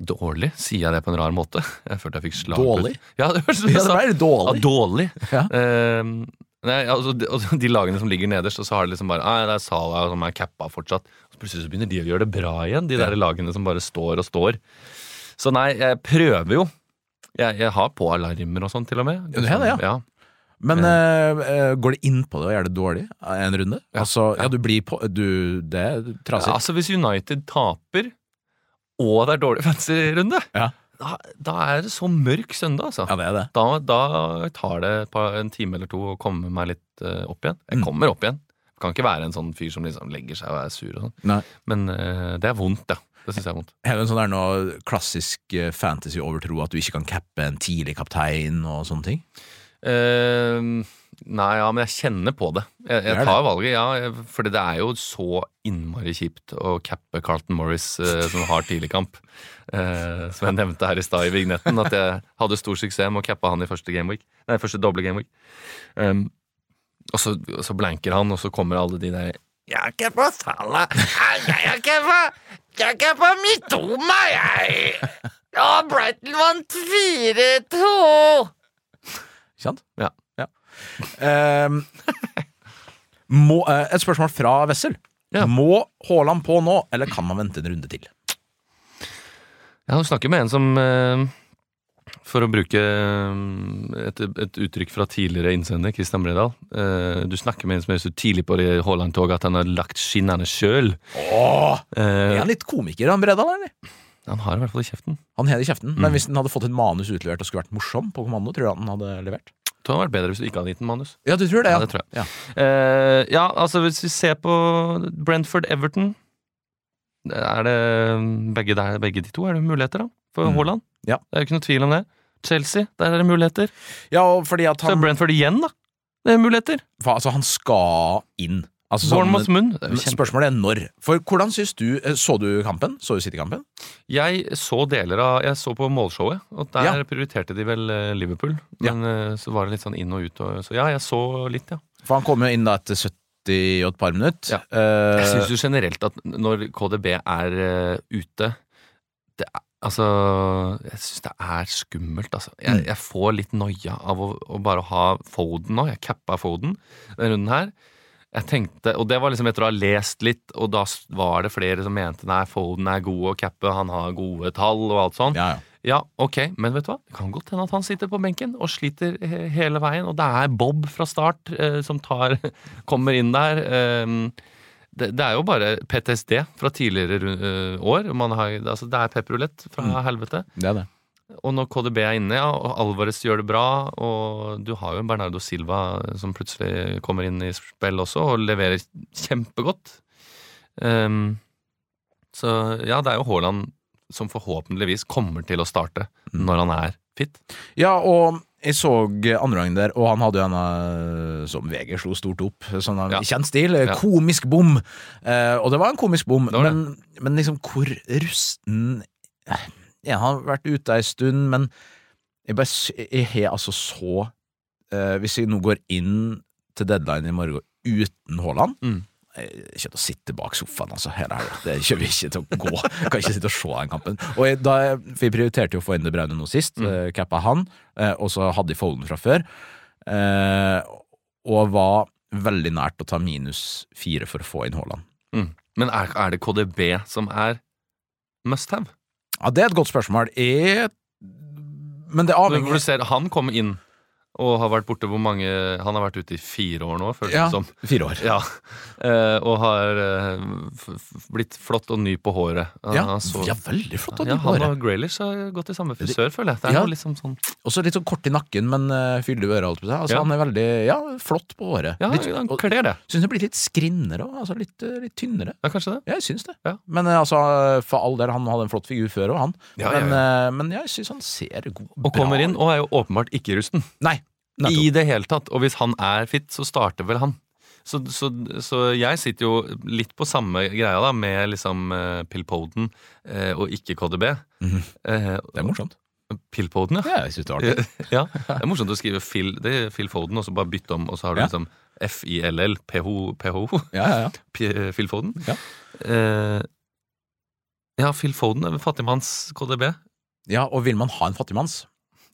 Speaker 3: Dårlig? Sier jeg det på en rar måte? *laughs* Jeg følte jeg fikk slag.
Speaker 2: Dårlig?
Speaker 3: Ja, det hørtes ut som
Speaker 2: Ja,
Speaker 3: jeg
Speaker 2: det
Speaker 3: sa
Speaker 2: ble litt dårlig.
Speaker 3: ja, dårlig.
Speaker 2: Ja.
Speaker 3: Eh, nei, altså, de, altså, de lagene som ligger nederst, og så har det liksom bare Nei, det er Salah som er cappa fortsatt. Og så plutselig så begynner de å gjøre det bra igjen, de der lagene som bare står og står. Så nei, jeg prøver jo. Jeg, jeg har på alarmer og sånn, til og med.
Speaker 2: Ja, du har det, ja.
Speaker 3: ja.
Speaker 2: Men eh, eh, går det inn på det, og gjør det dårlig en runde?
Speaker 3: Ja.
Speaker 2: Altså, ja, du blir på du, Det er trasig.
Speaker 3: Altså, hvis United taper, og det er dårlig fancy-runde,
Speaker 2: Ja.
Speaker 3: da, da er det så mørk søndag, altså.
Speaker 2: Ja, det er det.
Speaker 3: Da, da tar det et par, en time eller to å komme meg litt eh, opp igjen. Jeg
Speaker 2: Mm.
Speaker 3: kommer opp igjen. Kan ikke være en sånn fyr som liksom legger seg og er sur og sånn.
Speaker 2: Nei.
Speaker 3: Men eh, det er vondt, ja. Det syns jeg er vondt.
Speaker 2: Er det en sånn der noe klassisk eh, fantasy-overtro at du ikke kan cappe en tidlig kaptein og sånne ting?
Speaker 3: Eh, nei, ja, men jeg kjenner på det. Jeg,
Speaker 2: Gjør det.
Speaker 3: jeg tar valget, ja. jeg- Fordi det er jo så innmari kjipt å cappe Carlton Morris eh, som har tidligkamp. Uh, som jeg nevnte her i stad i vignetten, at jeg hadde stor suksess med å cappe han i første gameweek. Nei, første doble gameweek. Um, og så, og så blanker han, og så kommer alle de der Jeg har cappa Salah! Nei, Jeg har cappa- jeg har cappa Mitoma, jeg! Ja, Brighton vant 4-2!
Speaker 2: Ikke sant?
Speaker 3: Ja.
Speaker 2: Ehm, må, eh, et spørsmål fra Wessel.
Speaker 3: Ja.
Speaker 2: Må Haaland på nå, eller kan man vente en runde til?
Speaker 3: Ja, du snakker med en som eh, For å bruke eh, et, et uttrykk fra tidligere innsender, Christian Bredal eh, Du snakker med en som er så tidlig på det Haaland-toget at han har lagt skinnene sjøl.
Speaker 2: Åh, er
Speaker 3: Eh,
Speaker 2: han litt komiker, han Bredal? eller?
Speaker 3: han har i hvert fall i kjeften.
Speaker 2: Han har det i kjeften, men hvis han hadde fått et manus utlevert og skulle vært morsom på kommando, tror du han hadde levert?
Speaker 3: Det hadde vært bedre hvis du ikke hadde gitt den manus.
Speaker 2: Ja, du tror det?
Speaker 3: Ja,
Speaker 2: Ja,
Speaker 3: det tror jeg.
Speaker 2: Ja.
Speaker 3: Eh, ja, altså hvis vi ser på Brentford-Everton Er det mm, begge, der, begge de to er det muligheter, da? For
Speaker 2: Mm.
Speaker 3: Haaland?
Speaker 2: Ja.
Speaker 3: Det er jo ikke noe tvil om det. Chelsea, der er det muligheter.
Speaker 2: ja og fordi at
Speaker 3: Så er
Speaker 2: han,
Speaker 3: Brentford igjen, da. Det er muligheter.
Speaker 2: fa- altså, han skal inn. Altså, sånn-
Speaker 3: Bournemouth-Munn. det er jo
Speaker 2: men spørsmålet er når. For hvordan syns du eh, Så du kampen? Så du City-kampen?
Speaker 3: Jeg så deler av Jeg så på målshowet, og der
Speaker 2: Ja.
Speaker 3: prioriterte de vel eh, Liverpool.
Speaker 2: Ja.
Speaker 3: Men eh, så var det litt sånn inn og ut, og, så ja, jeg så litt, ja.
Speaker 2: For han kom jo inn da etter 70 og et par Eh, minutter.
Speaker 3: Ja. Jeg syns jo generelt at når KDB er eh, ute det er, Altså, jeg syns det er skummelt, altså.
Speaker 2: Mm.
Speaker 3: Jeg, jeg får litt noia av å, å bare ha Foden nå. Jeg cappa Foden denne runden her. Jeg tenkte, og det var liksom etter å ha lest litt, og da s- var det flere som mente nei, Foden er god å cappe, han har gode tall og alt sånn.
Speaker 2: ja, ja.
Speaker 3: Ja, ok, men vet du hva? Det kan godt hende at han sitter på benken og sliter he- hele veien, og det er Bob fra start eh, som tar, *laughs* kommer inn der. ehm, det, det er jo bare PTSD fra tidligere ru- eh, år. Man har, altså det er pepperulett fra helvete.
Speaker 2: Det er det.
Speaker 3: Og når KDB er inne, ja, og Alvarez gjør det bra, og du har jo en Bernardo Silva som plutselig kommer inn i spill også, og leverer kjempegodt. Ehm, så ja, det er jo Haaland som forhåpentligvis kommer til å starte når han er fit.
Speaker 2: Ja, og jeg så andre gangen der, og han hadde jo en eh, som VG slo stort opp, sånn av
Speaker 3: Ja.
Speaker 2: kjent stil. eh,
Speaker 3: Ja.
Speaker 2: Komisk bom. Eh, og det var en komisk bom,
Speaker 3: var det.
Speaker 2: men, men liksom hvor rusten eh, ja, Han har vært ute ei stund, men jeg bare sy- Jeg har altså så eh, Hvis jeg nå går inn til deadline i morgen uten Haaland
Speaker 3: Mm.
Speaker 2: Jeg kommer til å sitte bak sofaen, altså. Her er det. det kommer ikke til å gå. Kan ikke sitte og se den kampen. Og jeg, da, vi prioriterte jo å få inn De Braune nå sist.
Speaker 3: Mm.
Speaker 2: eh, Cappa han, eh, og så hadde de Folden fra før. Eh, og var veldig nært å ta minus fire for å få inn Haaland.
Speaker 3: Mm. Men er, er det KDB som er must have?
Speaker 2: Ja, det er et godt spørsmål. Jeg... Men det
Speaker 3: Når
Speaker 2: avhenger
Speaker 3: du ser han komme inn og har vært borte hvor mange Han har vært ute i fire år nå, føles det
Speaker 2: Ja,
Speaker 3: som.
Speaker 2: fire år.
Speaker 3: *laughs* Ja. Eh, og har eh, f- f- blitt flott og ny på håret. Han-
Speaker 2: Ja,
Speaker 3: han så-
Speaker 2: ja veldig flott. Ja,
Speaker 3: ja, han og Graylish har gått i samme frisør, føler jeg. Det er
Speaker 2: Ja.
Speaker 3: noe liksom sånn
Speaker 2: Også litt sånn kort i nakken, men uh, fyller du øret, holdt på å si. Altså,
Speaker 3: Ja.
Speaker 2: Han er veldig ja, flott på håret.
Speaker 3: Ja,
Speaker 2: litt,
Speaker 3: han
Speaker 2: og,
Speaker 3: kler det.
Speaker 2: synes det blir litt skrinnere òg. Altså litt, eh, litt tynnere.
Speaker 3: Ja, kanskje det.
Speaker 2: Ja, jeg syns det.
Speaker 3: Ja.
Speaker 2: Men eh, altså, for all del, han hadde en flott figur før òg, han.
Speaker 3: Ja, ja,
Speaker 2: men,
Speaker 3: ja.
Speaker 2: eh, men jeg syns han ser god
Speaker 3: Og
Speaker 2: bra
Speaker 3: kommer inn og er jo åpenbart ikke rusten.
Speaker 2: Nei. nettopp.
Speaker 3: I det hele tatt. Og hvis han er fit, så starter vel han. Så, så, så jeg sitter jo litt på samme greia da, med liksom eh, Pilpoden eh, og ikke KDB.
Speaker 2: Mhm.
Speaker 3: Eh,
Speaker 2: Det er morsomt.
Speaker 3: Pilpoden, ja.
Speaker 2: Ja, jeg synes det var artig.
Speaker 3: ja. Det er morsomt å skrive Phil, det er Phil Foden, og så bare bytte om, og så har du
Speaker 2: Ja.
Speaker 3: liksom F-I-L-L, P-H-O, P-H-O,
Speaker 2: Ja, ja, ja.
Speaker 3: P- Phil Foden.
Speaker 2: Ja.
Speaker 3: Eh, ja, Phil Foden, er fattigmanns KDB.
Speaker 2: ja, og vil man ha en fattigmanns?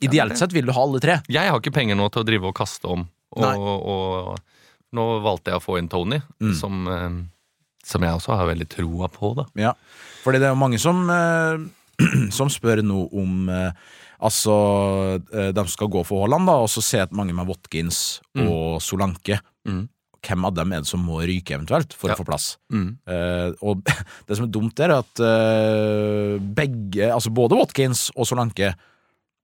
Speaker 2: Ideelt sett vil du ha alle tre.
Speaker 3: Jeg har ikke penger nå til å drive og kaste om. Og,
Speaker 2: Nei.
Speaker 3: og, nå valgte jeg å få inn Tony,
Speaker 2: Mm.
Speaker 3: som, eh, som jeg også har veldig troa på. da.
Speaker 2: Ja, fordi det er jo mange som, eh, *clears throat* som spør nå om eh, Altså, eh, de som skal gå for Haaland, da, og så ser jeg at mange med Watkins
Speaker 3: Mm.
Speaker 2: og Solanke
Speaker 3: Mm.
Speaker 2: Hvem av dem er det som må ryke eventuelt for
Speaker 3: Ja.
Speaker 2: å få plass? Eh, og *laughs* det som er dumt, er at eh, begge, altså både Watkins og Solanke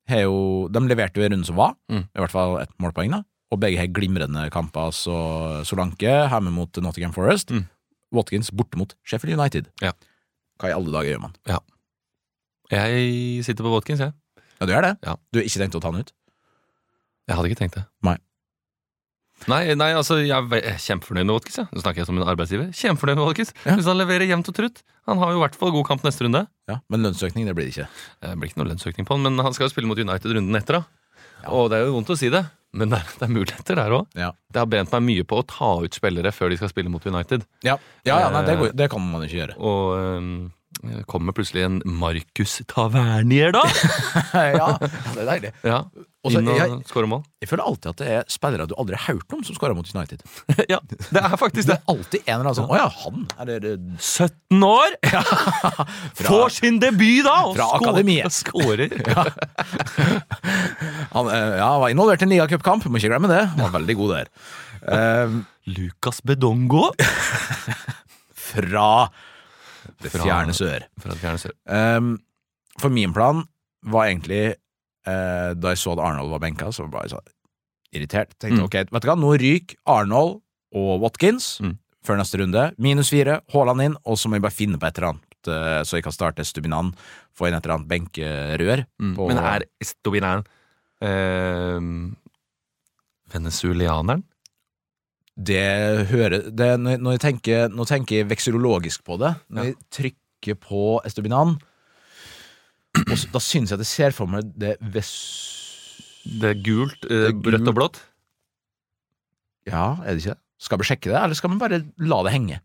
Speaker 2: har jo, De leverte jo i runden som var,
Speaker 3: Mm.
Speaker 2: i hvert fall ett målpoeng, da. Og begge har glimrende kamper. Så Solanke hjemme mot Nottingham Forest.
Speaker 3: Mm.
Speaker 2: Watkins borte mot Sheffield United.
Speaker 3: Ja.
Speaker 2: Hva i alle dager gjør man?
Speaker 3: Jeg sitter på Watkins, jeg.
Speaker 2: Ja, du gjør det?
Speaker 3: Ja.
Speaker 2: Du har ikke tenkt å ta den ut?
Speaker 3: Jeg hadde ikke tenkt det.
Speaker 2: Nei.
Speaker 3: Nei, nei altså, jeg er ve- kjempefornøyd med Watkins. jeg. Nå snakker jeg som en arbeidsgiver. Kjempefornøyd med Watkins.
Speaker 2: Ja.
Speaker 3: Hvis han leverer jevnt og trutt. Han har jo i hvert fall god kamp neste runde.
Speaker 2: Ja, Men lønnsøkning, det blir det ikke.
Speaker 3: Det blir ikke noe lønnsøkning på han, men han skal jo spille mot United runden etter, da. Og det er jo vondt å si det, men det er, det er muligheter der òg.
Speaker 2: Ja.
Speaker 3: Det har brent meg mye på å ta ut spillere før de skal spille mot United.
Speaker 2: Ja, ja, ja
Speaker 3: Eh.
Speaker 2: nei, det, går, det kan man ikke
Speaker 3: *laughs*
Speaker 2: gjøre.
Speaker 3: Og øhm, kommer plutselig en Markus Tavernier, da!
Speaker 2: *laughs* ja, det er deilig.
Speaker 3: ja,
Speaker 2: Og så-
Speaker 3: Inn og
Speaker 2: jeg-
Speaker 3: score
Speaker 2: *laughs*
Speaker 3: mål.
Speaker 2: Jeg føler alltid at det er spillere du aldri har hørt om, som skårer mot United.
Speaker 3: ja, det er
Speaker 2: Det
Speaker 3: faktisk det.
Speaker 2: er alltid en eller annen sånn Å ja, han! Er det, det
Speaker 3: 17 *laughs* år! Får sin debut, da! Og
Speaker 2: Fra
Speaker 3: skår-
Speaker 2: akademiet.
Speaker 3: og *laughs* Skårer.
Speaker 2: Han eh, ja, var involvert i en ligacupkamp, må ikke glemme det. Han var veldig god der. Eh,
Speaker 3: Lucas Bedongo. *laughs*
Speaker 2: fra det
Speaker 3: Fra-
Speaker 2: fjerne sør.
Speaker 3: Fra det fjerne sør.
Speaker 2: Eh, for min plan var egentlig eh, Da jeg så at Arnold var benka, så ble jeg så irritert. Tenkte
Speaker 3: Mm.
Speaker 2: ok, vet du hva, nå ryker Arnold og Watkins
Speaker 3: Mm.
Speaker 2: før neste runde. Minus fire, Haaland inn, og så må jeg bare finne på et eller annet. eh, Så jeg kan starte Stubinan, få inn et eller annet benkerør.
Speaker 3: Mm.
Speaker 2: på-
Speaker 3: Men er Estobinæren øhm, venezuelaneren?
Speaker 2: Det hører det, når, når jeg tenker, Nå tenker jeg vekselologisk på det. Når jeg trykker på Estobinan, og s- da syns jeg at jeg ser for meg det ves...
Speaker 3: Det er gult, øh,
Speaker 2: Det er
Speaker 3: rødt og blått.
Speaker 2: Ja, er det ikke det? Skal vi sjekke det, eller skal vi bare la det henge?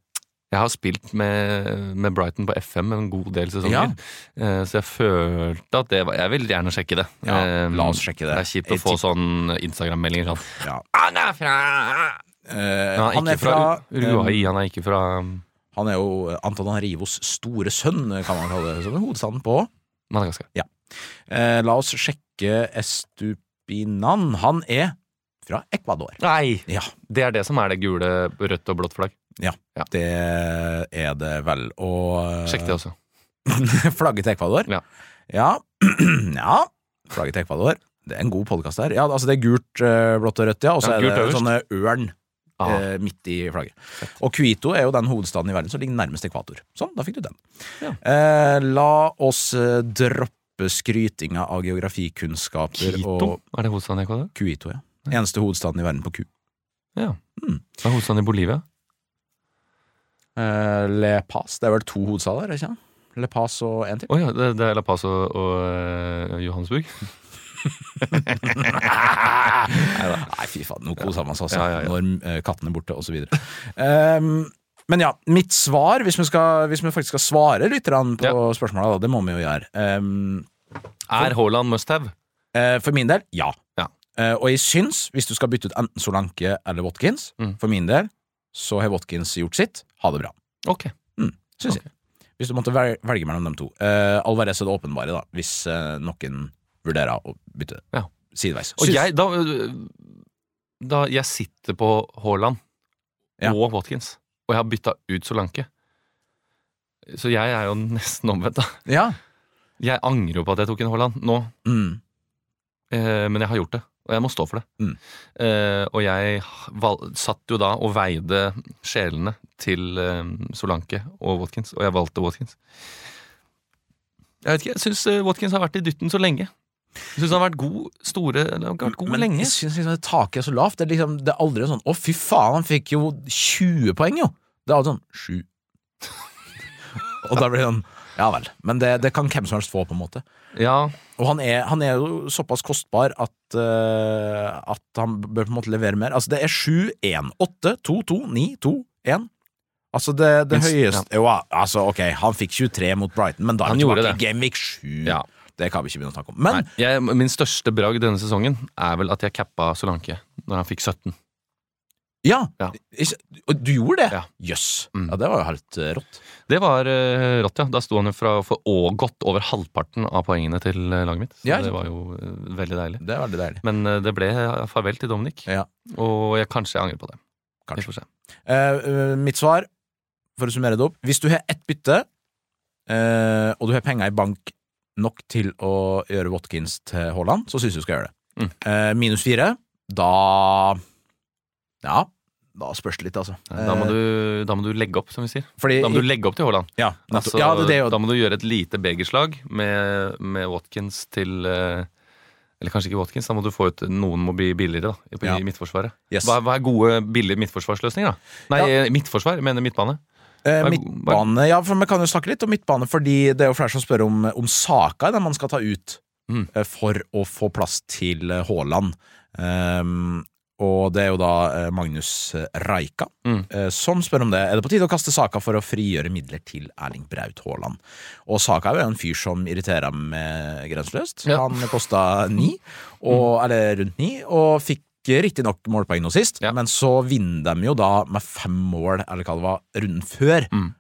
Speaker 3: Jeg har spilt med, med Brighton på FM en god del sesonger, eh, så jeg følte at det var Jeg vil gjerne sjekke det.
Speaker 2: Ja,
Speaker 3: Eh,
Speaker 2: la oss sjekke det.
Speaker 3: Det er kjipt å
Speaker 2: Jeg
Speaker 3: få sånn Instagram-meldinger sånn
Speaker 2: Ja.
Speaker 3: Han er fra
Speaker 2: Eh,
Speaker 3: Han er ikke fra
Speaker 2: eh,
Speaker 3: Uruguay, han er ikke fra
Speaker 2: Han er jo Antanarivos store sønn, kan man kalle det. Som er hovedstaden på.
Speaker 3: Madagaskar.
Speaker 2: Eh, la oss sjekke Estupinan. Han er fra Ecuador.
Speaker 3: Nei!
Speaker 2: Ja.
Speaker 3: Det er det som er det gule, rødt og blått flagg.
Speaker 2: Det er det vel. Og
Speaker 3: Sjekk det også.
Speaker 2: *laughs* Flagget til Ecuador?
Speaker 3: Ja.
Speaker 2: Ja. *clears throat* ja. Flagget til Ecuador. Det er en god podkast her. Ja, altså det er gult, eh, blått og rødt, ja. Og så
Speaker 3: Ja, gult
Speaker 2: er det
Speaker 3: øverst.
Speaker 2: sånne ørn
Speaker 3: Ah,
Speaker 2: eh, midt i flagget. Og Quito er jo den hovedstaden i verden som ligger nærmest ekvator. Sånn, da fikk du den.
Speaker 3: Ja.
Speaker 2: Eh, la oss eh, droppe skrytinga av geografikunnskaper
Speaker 3: Quito?
Speaker 2: og
Speaker 3: Er det hovedstaden i Ecuador?
Speaker 2: Quito, ja. Eneste hovedstaden i verden på Q.
Speaker 3: Ja.
Speaker 2: Mm.
Speaker 3: Det er hovedstaden i Bolivia.
Speaker 2: Eh, Le Paz. Det er vel to hovedstader, ikke sant? Le Paz og en til.
Speaker 3: Å ja, det, det er La Paz og, og eh, Johannesburg.
Speaker 2: Nei, fy faen, nå koser man seg altså.
Speaker 3: Ja, ja, ja.
Speaker 2: Når eh, katten er borte, og så videre. Ehm, Men ja, mitt svar, hvis vi, skal, hvis vi faktisk skal svare lytterne på
Speaker 3: Ja.
Speaker 2: spørsmålet, da, det må vi jo gjøre Ehm,
Speaker 3: Er Haaland must-have?
Speaker 2: eh, For min del, ja.
Speaker 3: Ja.
Speaker 2: Eh, og jeg syns, hvis du skal bytte ut enten Solanke eller Watkins,
Speaker 3: Mm.
Speaker 2: for min del, så har Watkins gjort sitt. Ha det bra.
Speaker 3: Ok.
Speaker 2: Synes
Speaker 3: Ok.
Speaker 2: jeg. Hvis du måtte vel- velge mellom dem to. Eh, Alvarez er det åpenbare, da, hvis eh, noen vurderer å bytte
Speaker 3: Ja.
Speaker 2: sideveis.
Speaker 3: Og
Speaker 2: Syns-
Speaker 3: jeg, da, øh, da jeg sitter på Haaland
Speaker 2: Ja.
Speaker 3: og Watkins, og jeg har bytta ut Solanke Så jeg er jo nesten omvendt, da.
Speaker 2: Ja.
Speaker 3: Jeg angrer jo på at jeg tok inn Haaland nå,
Speaker 2: Mm.
Speaker 3: eh, men jeg har gjort det. Og jeg må stå for det.
Speaker 2: Mm.
Speaker 3: Eh, og jeg val- satt jo da og veide sjelene til eh, Solanke og Watkins, og jeg valgte Watkins. Jeg vet ikke, jeg syns Watkins har vært i dytten så lenge. Jeg syns han har vært god store eller, han har vært god
Speaker 2: Men
Speaker 3: lenge.
Speaker 2: jeg syns liksom det taket er så lavt. Det er, liksom, det er aldri sånn 'Å, fy faen, han fikk jo 20 poeng', jo. Det er alltid sånn 7. *laughs* og da blir det sånn Ja vel. Men det, det kan hvem som helst få, på en måte.
Speaker 3: Ja,
Speaker 2: Og han er, han er jo såpass kostbar at, eh, at han bør på en måte levere mer. Altså, det er 7, 1, 8, 2, 2, 9, 2, 1. Altså, det, det
Speaker 3: Minst, ja.
Speaker 2: høyeste Jo, altså, ok, han fikk 23 mot Brighton, men da er
Speaker 3: Han
Speaker 2: vi
Speaker 3: gjorde
Speaker 2: tilbake i
Speaker 3: det.
Speaker 2: Gameweek 7.
Speaker 3: Ja.
Speaker 2: Det kan vi ikke begynne å snakke om. Men
Speaker 3: Nei, jeg, min største bragd denne sesongen er vel at jeg cappa Solanke når han fikk 17.
Speaker 2: ja,
Speaker 3: Ja.
Speaker 2: ikke- og du gjorde det?
Speaker 3: Ja.
Speaker 2: Jøss.
Speaker 3: Mm.
Speaker 2: Ja, det var jo helt eh, rått.
Speaker 3: Det var eh, rått, ja. Da sto han jo fra, for å, godt over halvparten av poengene til eh, laget mitt. Så
Speaker 2: Ja,
Speaker 3: det
Speaker 2: sant.
Speaker 3: var jo eh, veldig deilig.
Speaker 2: Det er veldig deilig.
Speaker 3: Men eh, det ble farvel til Dominic,
Speaker 2: Ja.
Speaker 3: og jeg, kanskje jeg angrer på det. Vi
Speaker 2: Kanskje.
Speaker 3: får se.
Speaker 2: Eh, eh, mitt svar, for å summere det opp Hvis du har ett bytte, eh, og du har penger i bank nok til å gjøre Watkins til Haaland, så syns jeg du skal gjøre det. Eh, minus fire, da Ja, da spørs det litt, altså.
Speaker 3: Da må, du, da må du legge opp, som vi sier.
Speaker 2: Fordi
Speaker 3: Da må du legge opp til Haaland.
Speaker 2: ja, nettopp.
Speaker 3: Altså,
Speaker 2: ja, det, det, er jo-
Speaker 3: Da må du gjøre et lite begerslag med, med Watkins til eh, Eller kanskje ikke Watkins, da må du få ut noen må bli billigere da, i,
Speaker 2: Ja.
Speaker 3: i midtforsvaret.
Speaker 2: yes.
Speaker 3: Hva, hva er gode, billige midtforsvarsløsninger, da? Nei, eh, midtforsvar, jeg mener midtbane.
Speaker 2: Eh,
Speaker 3: hva-
Speaker 2: midtbane Ja, for vi kan jo snakke litt om midtbane, fordi det er jo flere som spør om, om saka den man skal ta ut
Speaker 3: Mm.
Speaker 2: eh, for å få plass til eh, Haaland. Ehm, og det er jo da eh, Magnus eh, Raika
Speaker 3: Mm.
Speaker 2: eh, som spør om det. Er det på tide å kaste saka for å frigjøre midler til Erling Braut Haaland? Og saka er jo en fyr som irriterer meg grenseløst.
Speaker 3: Ja. Mm.
Speaker 2: Han kosta ni, og, eller rundt ni, og fikk riktignok målpoeng nå sist,
Speaker 3: Ja.
Speaker 2: men så vinner de jo da med fem mål, eller hva det var, runden før,
Speaker 3: Mm.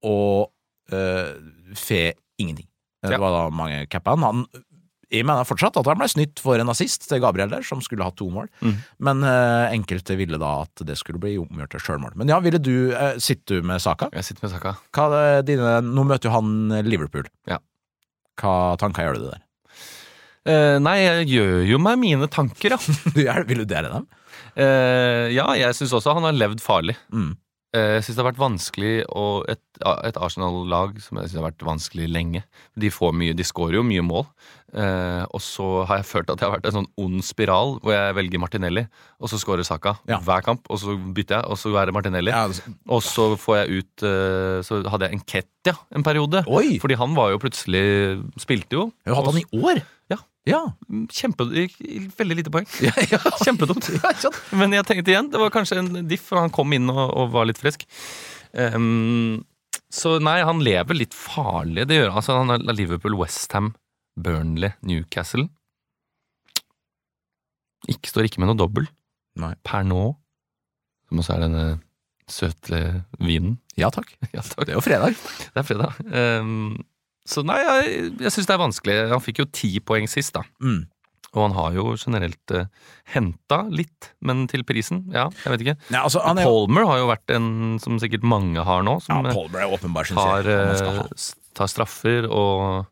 Speaker 2: og eh, får ingenting. Det
Speaker 3: Ja.
Speaker 2: var da mange cappa han. Han- Jeg mener fortsatt at han ble snytt for en assist til Gabriel der, som skulle ha to mål,
Speaker 3: Mm.
Speaker 2: men eh, enkelte ville da at det skulle bli omgjort til sjølmål. Men ja, ville du eh, Sitter du med saka?
Speaker 3: Jeg sitter med saka.
Speaker 2: Hva er dine Nå møter jo han eh, Liverpool.
Speaker 3: Ja.
Speaker 2: Hva tanker gjør du der? *laughs*
Speaker 3: Eh, nei, jeg gjør jo meg mine tanker, ja. *laughs*
Speaker 2: Du gjør- Vil du dele dem?
Speaker 3: Eh, ja, jeg syns også han har levd farlig.
Speaker 2: Mm.
Speaker 3: Eh, Jeg syns det har vært vanskelig og et, et Arsenal-lag som jeg synes har vært vanskelig lenge. De får mye, de scorer jo mye mål. Eh, og så har jeg følt at jeg har vært en sånn ond spiral hvor jeg velger Martinelli, og så scorer Saka
Speaker 2: Ja.
Speaker 3: hver kamp, og så bytter jeg, og så er det Martinelli.
Speaker 2: Ja, altså-
Speaker 3: Og så får jeg ut eh, Så hadde jeg Enketia en periode.
Speaker 2: Oi!
Speaker 3: Fordi han var jo plutselig Spilte jo.
Speaker 2: Har du hatt han i år?
Speaker 3: Ja.
Speaker 2: Ja.
Speaker 3: Kjempe, veldig lite poeng. *laughs*
Speaker 2: ja, *laughs* ja.
Speaker 3: Kjempedumt.
Speaker 2: ja ikke sant?
Speaker 3: Men jeg tenkte igjen, det var kanskje en diff, og han kom inn og, og var litt frisk. Ehm, så nei, han lever litt farlig. Det gjør han. altså, han. er Liverpool, Westham, Burnley, Newcastle. Ikke Står ikke med noe dobbel
Speaker 2: Nei.
Speaker 3: per nå. Som også er denne søte vinen. *laughs*
Speaker 2: ja takk.
Speaker 3: Ja, takk.
Speaker 2: Det er jo fredag.
Speaker 3: Det er fredag. Ehm, så nei, jeg, jeg syns det er vanskelig. Han fikk jo ti poeng sist, da.
Speaker 2: Mm.
Speaker 3: Og han har jo generelt uh, henta litt, men til prisen. Ja, jeg vet ikke.
Speaker 2: Ja, altså, han er,
Speaker 3: Palmer har jo vært en som sikkert mange har nå,
Speaker 2: ja,
Speaker 3: som eh,
Speaker 2: Palmer er åpenbar, syns
Speaker 3: tar,
Speaker 2: jeg. Han skal
Speaker 3: eh,
Speaker 2: ha.
Speaker 3: s- tar straffer og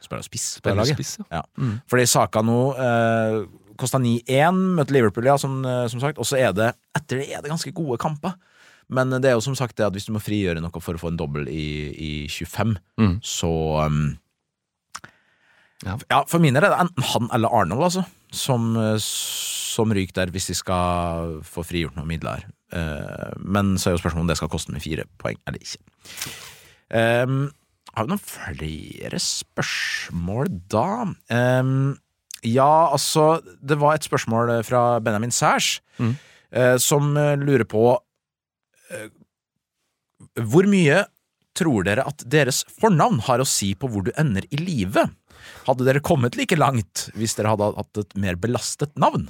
Speaker 2: Spiller spiss på det
Speaker 3: spiller
Speaker 2: laget.
Speaker 3: spiss.
Speaker 2: Ja.
Speaker 3: Ja. Mm.
Speaker 2: Fordi saka nå eh, kosta 9-1, møtte Liverpool, ja, som, eh, som sagt. Og så er det etter det er det ganske gode kamper. Men det er jo som sagt det at hvis du må frigjøre noe for å få en dobbel i, i 25,
Speaker 3: Mm.
Speaker 2: så um,
Speaker 3: Ja.
Speaker 2: ja. for mine er det enten han eller Arnold, altså, som, eh, som ryker der hvis de skal få frigjort noen midler. Eh, men så er jo spørsmålet om det skal koste meg fire poeng eller ikke. Ehm, har vi noen flere spørsmål da? Ehm, ja, altså Det var et spørsmål eh, fra Benjamin Sæsj,
Speaker 3: Mm.
Speaker 2: eh, som eh, lurer på eh, Hvor mye tror dere at deres fornavn har å si på hvor du ender i livet? Hadde dere kommet like langt hvis dere hadde hatt et mer belastet navn?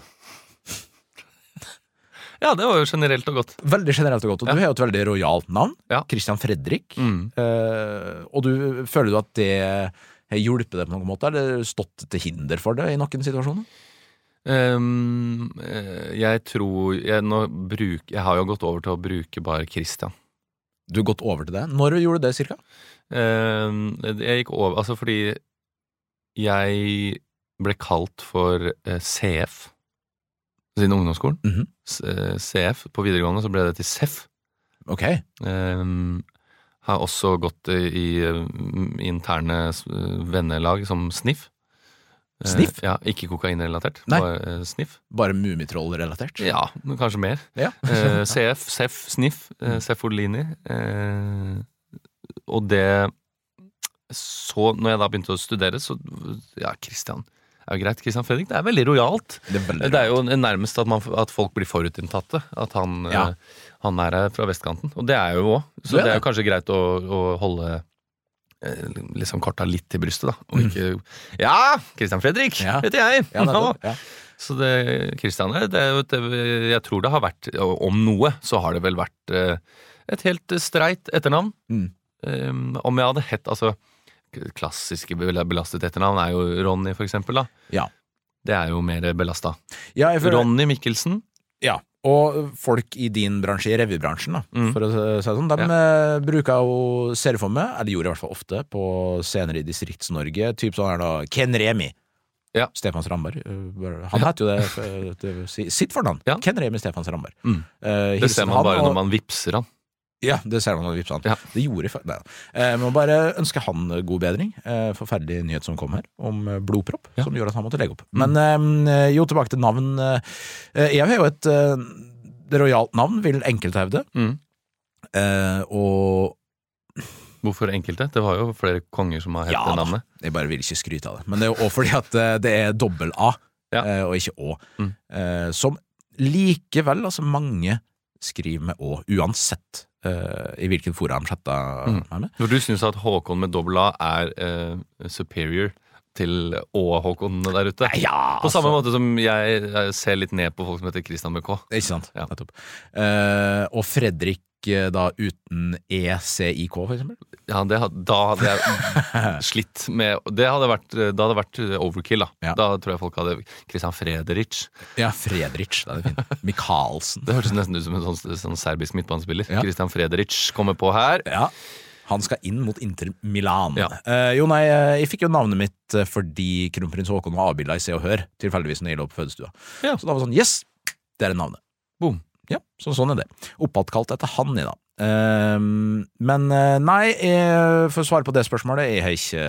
Speaker 3: Ja, det var jo generelt og godt.
Speaker 2: Veldig generelt og godt. Og du har jo et veldig rojalt navn.
Speaker 3: Ja.
Speaker 2: Christian Fredrik.
Speaker 3: Mm.
Speaker 2: Eh, og du, føler du at det har hjulpet deg på noen måte? Eller stått til hinder for det i noen situasjoner?
Speaker 3: Ehm, eh, jeg tror jeg, nå bruk, jeg har jo gått over til å bruke bare Christian.
Speaker 2: Du har gått over til det. Når gjorde du det, cirka?
Speaker 3: Ehm, jeg gikk over Altså fordi jeg ble kalt for eh, CF siden ungdomsskolen.
Speaker 2: Mhm.
Speaker 3: S- eh, CF på videregående, så ble det til SEF.
Speaker 2: Ok.
Speaker 3: Ehm, har også gått i, i eh, interne s- vennelag som Sniff. Eh,
Speaker 2: Sniff?
Speaker 3: ja, ikke kokainrelatert.
Speaker 2: Nei.
Speaker 3: Bare, eh, sniff.
Speaker 2: Bare Mummitroll-relatert?
Speaker 3: Ja, men kanskje mer.
Speaker 2: Ja. *laughs*
Speaker 3: Eh, CF, SEF, Sniff, eh,
Speaker 2: Mm.
Speaker 3: Sefolini. Eh, og det Så, når jeg da begynte å studere, så Ja, Christian. Det er jo greit, Christian Fredrik. Det er veldig rojalt.
Speaker 2: Det er veldig
Speaker 3: Det er jo nærmest at, man, at folk blir forutinntatte. At han,
Speaker 2: Ja.
Speaker 3: eh, han er her fra vestkanten. Og det er jo òg. Så
Speaker 2: Du er
Speaker 3: det er
Speaker 2: det.
Speaker 3: jo kanskje greit å, å holde eh, liksom korta litt til brystet, da. Og ikke Ja! Christian Fredrik
Speaker 2: Mm. Ja.
Speaker 3: heter jeg!
Speaker 2: Ja, *laughs* nettopp. Ja.
Speaker 3: *laughs* Så det, Christian, det er jo et, jeg tror det har vært, om noe, så har det vel vært eh, et helt streit etternavn.
Speaker 2: Mm.
Speaker 3: Um, om jeg hadde hett, altså, klassiske bel- belastet etternavn er jo Ronny, for eksempel, da.
Speaker 2: Ja.
Speaker 3: Det er jo mer belasta.
Speaker 2: Ja, jeg føler,
Speaker 3: Ronny Mikkelsen,
Speaker 2: ja. Og folk i din bransje, i revybransjen, da,
Speaker 3: Mm.
Speaker 2: for å si det sånn, de eh, bruker jo serieformer, eller gjorde i hvert fall ofte, på scener i Distrikts-Norge. Typ sånn her da, Ken Remi.
Speaker 3: Ja.
Speaker 2: Stefan Strandberg. eh, Han het jo det,
Speaker 3: *laughs*
Speaker 2: eh, det si- sitt fornavn.
Speaker 3: Ja.
Speaker 2: Ken Remi Stefan Strandberg.
Speaker 3: Mm.
Speaker 2: Eh,
Speaker 3: det
Speaker 2: hilsen
Speaker 3: ser man
Speaker 2: han,
Speaker 3: bare
Speaker 2: og-
Speaker 3: når man vipser han.
Speaker 2: Ja, det ser man når du vipser han.
Speaker 3: Ja.
Speaker 2: Det gjorde fa- Nei. Eh, Må bare ønske han god bedring. Eh, Forferdelig nyhet som kom her, om eh, blodpropp,
Speaker 3: Ja.
Speaker 2: som gjorde at han måtte legge opp. Men eh, jo, tilbake til navn. Eh, Jeg har jo et eh, rojalt navn, vil enkelte hevde.
Speaker 3: Mm.
Speaker 2: Eh, Og
Speaker 3: Hvorfor enkelte? Det var jo flere konger som har hett
Speaker 2: Ja
Speaker 3: det
Speaker 2: da.
Speaker 3: navnet.
Speaker 2: jeg bare vil ikke skryte av det. Men det er jo òg fordi at eh, det er dobbel A,
Speaker 3: Ja.
Speaker 2: eh, og ikke Å.
Speaker 3: Mm.
Speaker 2: Eh, Som likevel, altså mange skriver med Å, uansett eh, i hvilken fora de chatter
Speaker 3: Mm.
Speaker 2: meg med.
Speaker 3: For du syns at Håkon med dobbel A er eh, superior til Å-Håkon der ute?
Speaker 2: Ja, altså.
Speaker 3: På samme måte som jeg eh, ser litt ned på folk som heter Christian med K.
Speaker 2: Ikke sant?
Speaker 3: Ja.
Speaker 2: Nettopp. Eh, og Fredrik eh, da uten E ECIK, for eksempel?
Speaker 3: Ja, det, had- da hadde
Speaker 2: *laughs*
Speaker 3: jeg slitt med Det hadde vært, eh, da hadde det vært overkill, da.
Speaker 2: Ja.
Speaker 3: Da tror jeg folk hadde Christian Frederich.
Speaker 2: Ja, Fredrich. Det er fint. Michaelsen.
Speaker 3: Det hørtes nesten ut som en sånn, sånn serbisk midtbanespiller.
Speaker 2: Ja.
Speaker 3: Christian Frederich kommer på her.
Speaker 2: Ja. Han skal inn mot Inter Milan.
Speaker 3: Ja.
Speaker 2: Eh, jo, nei, eh, jeg fikk jo navnet mitt eh, fordi kronprins Haakon var avbilda i Se og Hør, tilfeldigvis når jeg lå på fødestua.
Speaker 3: Ja.
Speaker 2: Så da var det sånn Yes! Det er navnet.
Speaker 3: Boom.
Speaker 2: Ja, så sånn er det. Oppkalt etter han, jeg, da. Eh, men eh, nei, eh, for å svare på det spørsmålet, jeg har ikke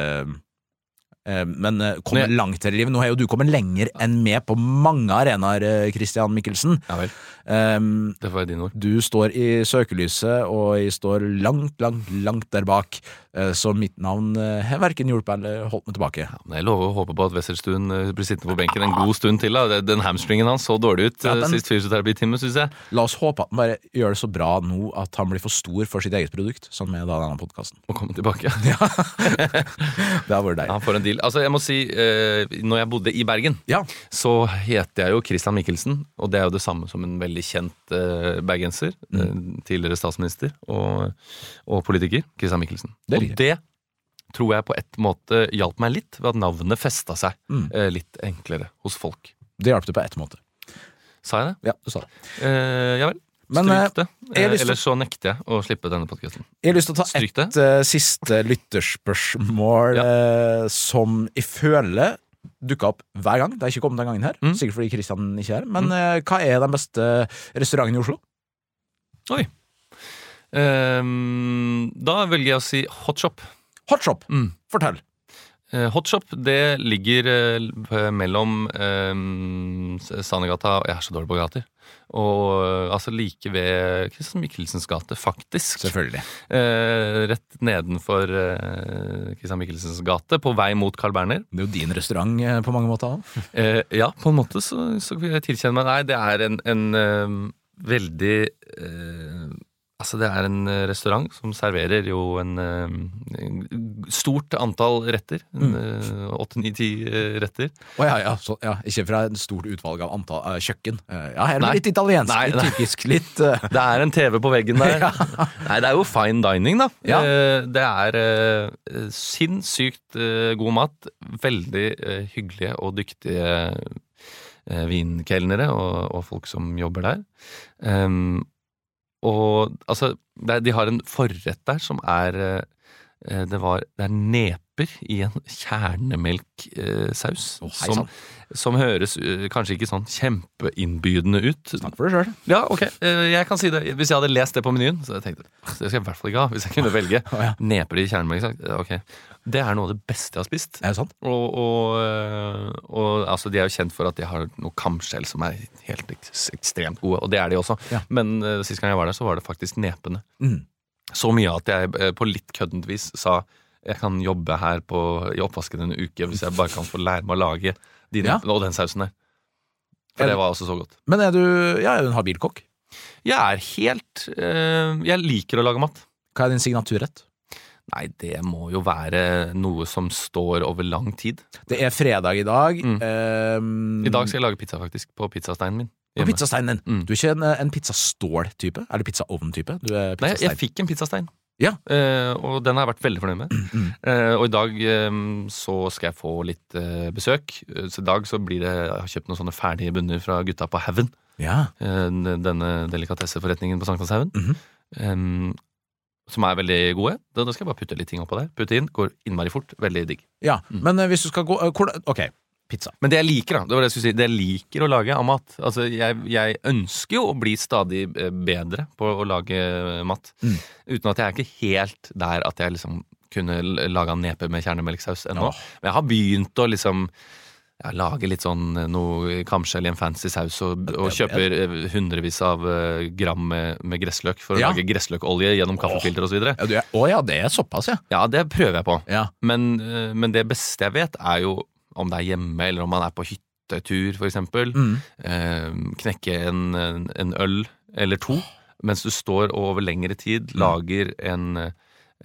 Speaker 2: eh, men eh, kommer
Speaker 3: Men-
Speaker 2: langt her i livet. Nå har jo du kommet lenger enn meg på mange arenaer, eh, Christian Mikkelsen.
Speaker 3: Ja vel.
Speaker 2: Um,
Speaker 3: Det får være dine ord.
Speaker 2: du står i søkelyset, og jeg står langt, langt, langt der bak. Eh, Så mitt navn eh, har verken hjulpet eller holdt meg tilbake.
Speaker 3: Ja, men jeg lover å håpe på at Wesselstuen eh, blir sittende på benken en god stund til. Da. Det- Den hamstringen hans så dårlig ut
Speaker 2: Ja,
Speaker 3: eh,
Speaker 2: den-
Speaker 3: sist fysioterapitime, syns jeg.
Speaker 2: La oss håpe at han bare gjør det så bra nå at han blir for stor for sitt eget produkt, som er da denne podkasten.
Speaker 3: Må komme tilbake. *laughs*
Speaker 2: Det har vært
Speaker 3: Ja,
Speaker 2: deilig.
Speaker 3: Han får en deal. Altså, jeg må si, eh, når jeg bodde i Bergen,
Speaker 2: Ja.
Speaker 3: så heter jeg jo Christian Michelsen, og det er jo det samme som en veldig kjent eh, bergenser.
Speaker 2: Mm.
Speaker 3: eh, tidligere statsminister og, og politiker. Christian Michelsen.
Speaker 2: Det
Speaker 3: og
Speaker 2: liker jeg.
Speaker 3: det tror jeg på et måte hjalp meg litt, ved at navnet festa seg
Speaker 2: Mm.
Speaker 3: eh, litt enklere hos folk.
Speaker 2: Det hjalp det på ett måte.
Speaker 3: Sa jeg det?
Speaker 2: Ja, du sa det.
Speaker 3: Eh, ja vel.
Speaker 2: Men, eh,
Speaker 3: Stryk det.
Speaker 2: jeg har
Speaker 3: Eh,
Speaker 2: lyst til-
Speaker 3: ellers så nekter jeg å slippe denne podkasten.
Speaker 2: Jeg har lyst til å ta
Speaker 3: Stryk det.
Speaker 2: ett eh, siste lytterspørsmål eh, som jeg føler dukka opp hver gang. Det har ikke kommet den gangen her,
Speaker 3: Mm.
Speaker 2: sikkert fordi Kristian ikke er her. Men eh, hva er den beste restauranten i Oslo?
Speaker 3: Eh, da velger jeg å si hotshop.
Speaker 2: Hot Shop.
Speaker 3: Mm.
Speaker 2: Fortell.
Speaker 3: Eh, Hotshop det ligger eh, l- p- mellom eh, S- Sanegata Jeg er så dårlig på gater. Og eh, altså like ved Christian Michelsens gate, faktisk.
Speaker 2: Selvfølgelig.
Speaker 3: Eh, rett nedenfor eh, Christian Michelsens gate, på vei mot Carl Berner.
Speaker 2: Det er jo din restaurant eh, på mange måter. også.
Speaker 3: Eh, ja, på en måte så, så vil jeg tilkjenne meg Nei, det er en, en eh, veldig eh, Altså, det er en eh, restaurant som serverer jo en eh, stort antall retter. eh, Åtte-ni-ti eh, retter.
Speaker 2: Å ja, ja, så, ja. Ikke fra et stort utvalg av antall eh, kjøkken. Eh, ja, her er
Speaker 3: Nei.
Speaker 2: det litt italiensk,
Speaker 3: Nei,
Speaker 2: litt
Speaker 3: nei.
Speaker 2: tyrkisk, litt eh,
Speaker 3: Det er en TV på veggen der. *laughs* Nei, det er jo fine dining, da.
Speaker 2: Ja.
Speaker 3: Eh, Det er eh, sinnssykt eh, god mat. Veldig eh, hyggelige og dyktige eh, vinkelnere og, og folk som jobber der. Ehm, og altså, det, er- de har en forrett der som er eh, eh, det, var, det er neper i en kjernemelksaus.
Speaker 2: Å, hei sånn.
Speaker 3: som,
Speaker 2: sann.
Speaker 3: som høres eh, kanskje ikke sånn kjempeinnbydende ut.
Speaker 2: Snakk for deg sjøl.
Speaker 3: Ja, ok. Eh, Jeg kan si det. Hvis jeg hadde lest det på menyen, så hadde jeg tenkt det skal jeg i hvert fall ikke ha. Hvis jeg kunne velge.
Speaker 2: *laughs* Å, ja.
Speaker 3: Neper i kjernemelk. sagt, eh, Ok. Det er noe av det beste jeg har spist.
Speaker 2: Er det sant?
Speaker 3: Og, og, eh, og altså, de er jo kjent for at de har noe kamskjell som er helt eks- ekstremt gode, og det er de også.
Speaker 2: Ja.
Speaker 3: Men uh, sist gang jeg var der, så var det faktisk nepene.
Speaker 2: Mm.
Speaker 3: Så mye at jeg eh, på litt køddent vis sa jeg kan jobbe her på, i oppvasken en uke hvis jeg bare kan få lære meg å lage de
Speaker 2: Ja.
Speaker 3: nepene og den sausen der. For det var også så godt.
Speaker 2: Men er du ja, er du en habil kokk?
Speaker 3: Jeg er helt eh, Jeg liker å lage mat.
Speaker 2: Hva er din signaturrett?
Speaker 3: Nei, det må jo være noe som står over lang tid.
Speaker 2: Det er fredag i dag.
Speaker 3: Mm.
Speaker 2: ehm,
Speaker 3: I dag skal jeg lage pizza, faktisk. På pizzasteinen min.
Speaker 2: På
Speaker 3: hjemme.
Speaker 2: pizzasteinen din.
Speaker 3: Mm.
Speaker 2: Du er ikke en, en pizzastål-type? Er du pizzaovn-type? Du er
Speaker 3: Nei, jeg
Speaker 2: pizzastein.
Speaker 3: fikk en pizzastein.
Speaker 2: Ja.
Speaker 3: Eh, og den har jeg vært veldig fornøyd med.
Speaker 2: mm.
Speaker 3: Eh, og i dag eh, så skal jeg få litt eh, besøk. Eh, Så i dag så blir det Jeg har kjøpt noen sånne ferdige bunner fra gutta på Haugen.
Speaker 2: Ja.
Speaker 3: eh, denne delikatesseforretningen på Sankthanshaugen.
Speaker 2: Mhm.
Speaker 3: eh, som er veldig gode. Da, da skal jeg bare putte litt ting oppå der. Putte inn. Går innmari fort. Veldig digg.
Speaker 2: ja.
Speaker 3: Mm.
Speaker 2: Men eh, hvis du skal gå eh, hvordan- Ok, pizza.
Speaker 3: Men det jeg liker, da, det var det jeg skulle si, det jeg liker å lage av mat Altså, jeg, jeg ønsker jo å bli stadig eh, bedre på å lage eh, mat.
Speaker 2: Mm.
Speaker 3: Uten at jeg er ikke helt der at jeg liksom kunne l- laga nepe med kjernemelksaus ennå.
Speaker 2: Åh.
Speaker 3: Men jeg har begynt å liksom ja, lage litt sånn eh, noe kamskjell i en fancy saus og, og
Speaker 2: Ja,
Speaker 3: kjøper eh, hundrevis av eh, gram med, med gressløk for å
Speaker 2: Ja.
Speaker 3: lage gressløkolje gjennom kaffefilter osv.
Speaker 2: Ja, du er, å ja, det er såpass, ja.
Speaker 3: Ja, det prøver jeg på.
Speaker 2: ja.
Speaker 3: Men, eh, men det beste jeg vet er jo om det er hjemme eller om man er på hyttetur for eksempel.
Speaker 2: Mm.
Speaker 3: Eh, knekke en, en en øl eller to mens du står og over lengre tid lager en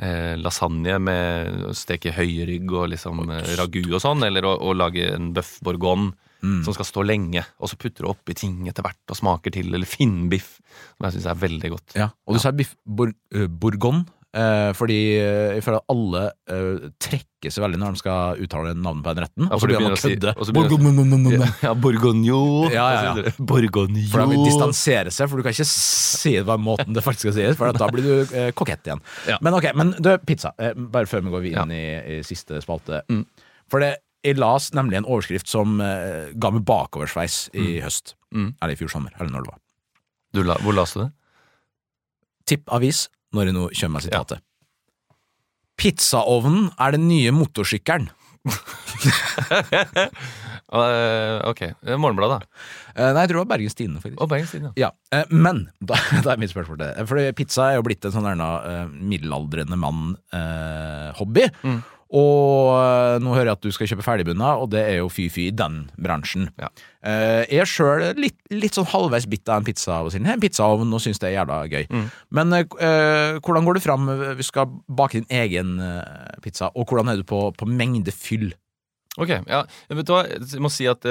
Speaker 3: eh, lasagne med å steke høyrygg og liksom eh, ragu og sånn, eller å, å lage en bøff bourgogne
Speaker 2: Mm.
Speaker 3: som skal stå lenge, og så putter du oppi ting etter hvert og smaker til, eller finnbiff, som jeg syns er veldig godt.
Speaker 2: Ja, og du sa biff bor, eh, bourgogne. Eh, fordi eh, jeg føler at alle eh, trekker seg veldig når de skal uttale navnet på den retten.
Speaker 3: Ja,
Speaker 2: og
Speaker 3: for
Speaker 2: så
Speaker 3: de
Speaker 2: begynner de å kødde.
Speaker 3: begynner å si- og så begynner de å si-
Speaker 2: Bourgogne.
Speaker 3: Ja, bourgognon.
Speaker 2: Ja, ja, ja.
Speaker 3: og så videre. Bourgognon.
Speaker 2: For da vil de distansere seg, for du kan ikke si det på den måten det faktisk skal sies. For at da blir du eh, kokett igjen.
Speaker 3: Ja.
Speaker 2: Men ok, men du, pizza. Eh, bare før vi går inn i, i siste spalte.
Speaker 3: Mm.
Speaker 2: For det, jeg las nemlig en overskrift som eh, ga meg bakoversveis i
Speaker 3: Mm.
Speaker 2: høst. Eller i fjor sommer, eller når det var.
Speaker 3: Du la, hvor leste du det?
Speaker 2: Tipp avis når jeg nå kommer med sitatet. Pizzaovnen er den nye motorsykkelen.
Speaker 3: *laughs* Eh, ok, Eh, Morgenbladet, da.
Speaker 2: Eh, nei, jeg tror det var Bergens Tidende, faktisk.
Speaker 3: Og Bergens Tidende. ja.
Speaker 2: Ja, eh, Men *laughs* da, da er mitt spørsmål til deg. For pizza er jo blitt en sånn derna, eh, middelaldrende mann-hobby.
Speaker 3: Mm.
Speaker 2: Og eh, nå hører jeg at du skal kjøpe ferdigbunna, og det er jo fy-fy i den bransjen.
Speaker 3: Ja.
Speaker 2: Eh, jeg sjøl er litt, litt sånn halvveis bitt av en pizza av og til. En pizzaovn og syns det er jævla gøy.
Speaker 3: Mm.
Speaker 2: Men eh, k- eh, hvordan går du fram hvis du skal bake din egen eh, pizza, og hvordan er du på, på mengde fyll?
Speaker 3: Ok, ja, vet du hva, jeg må si at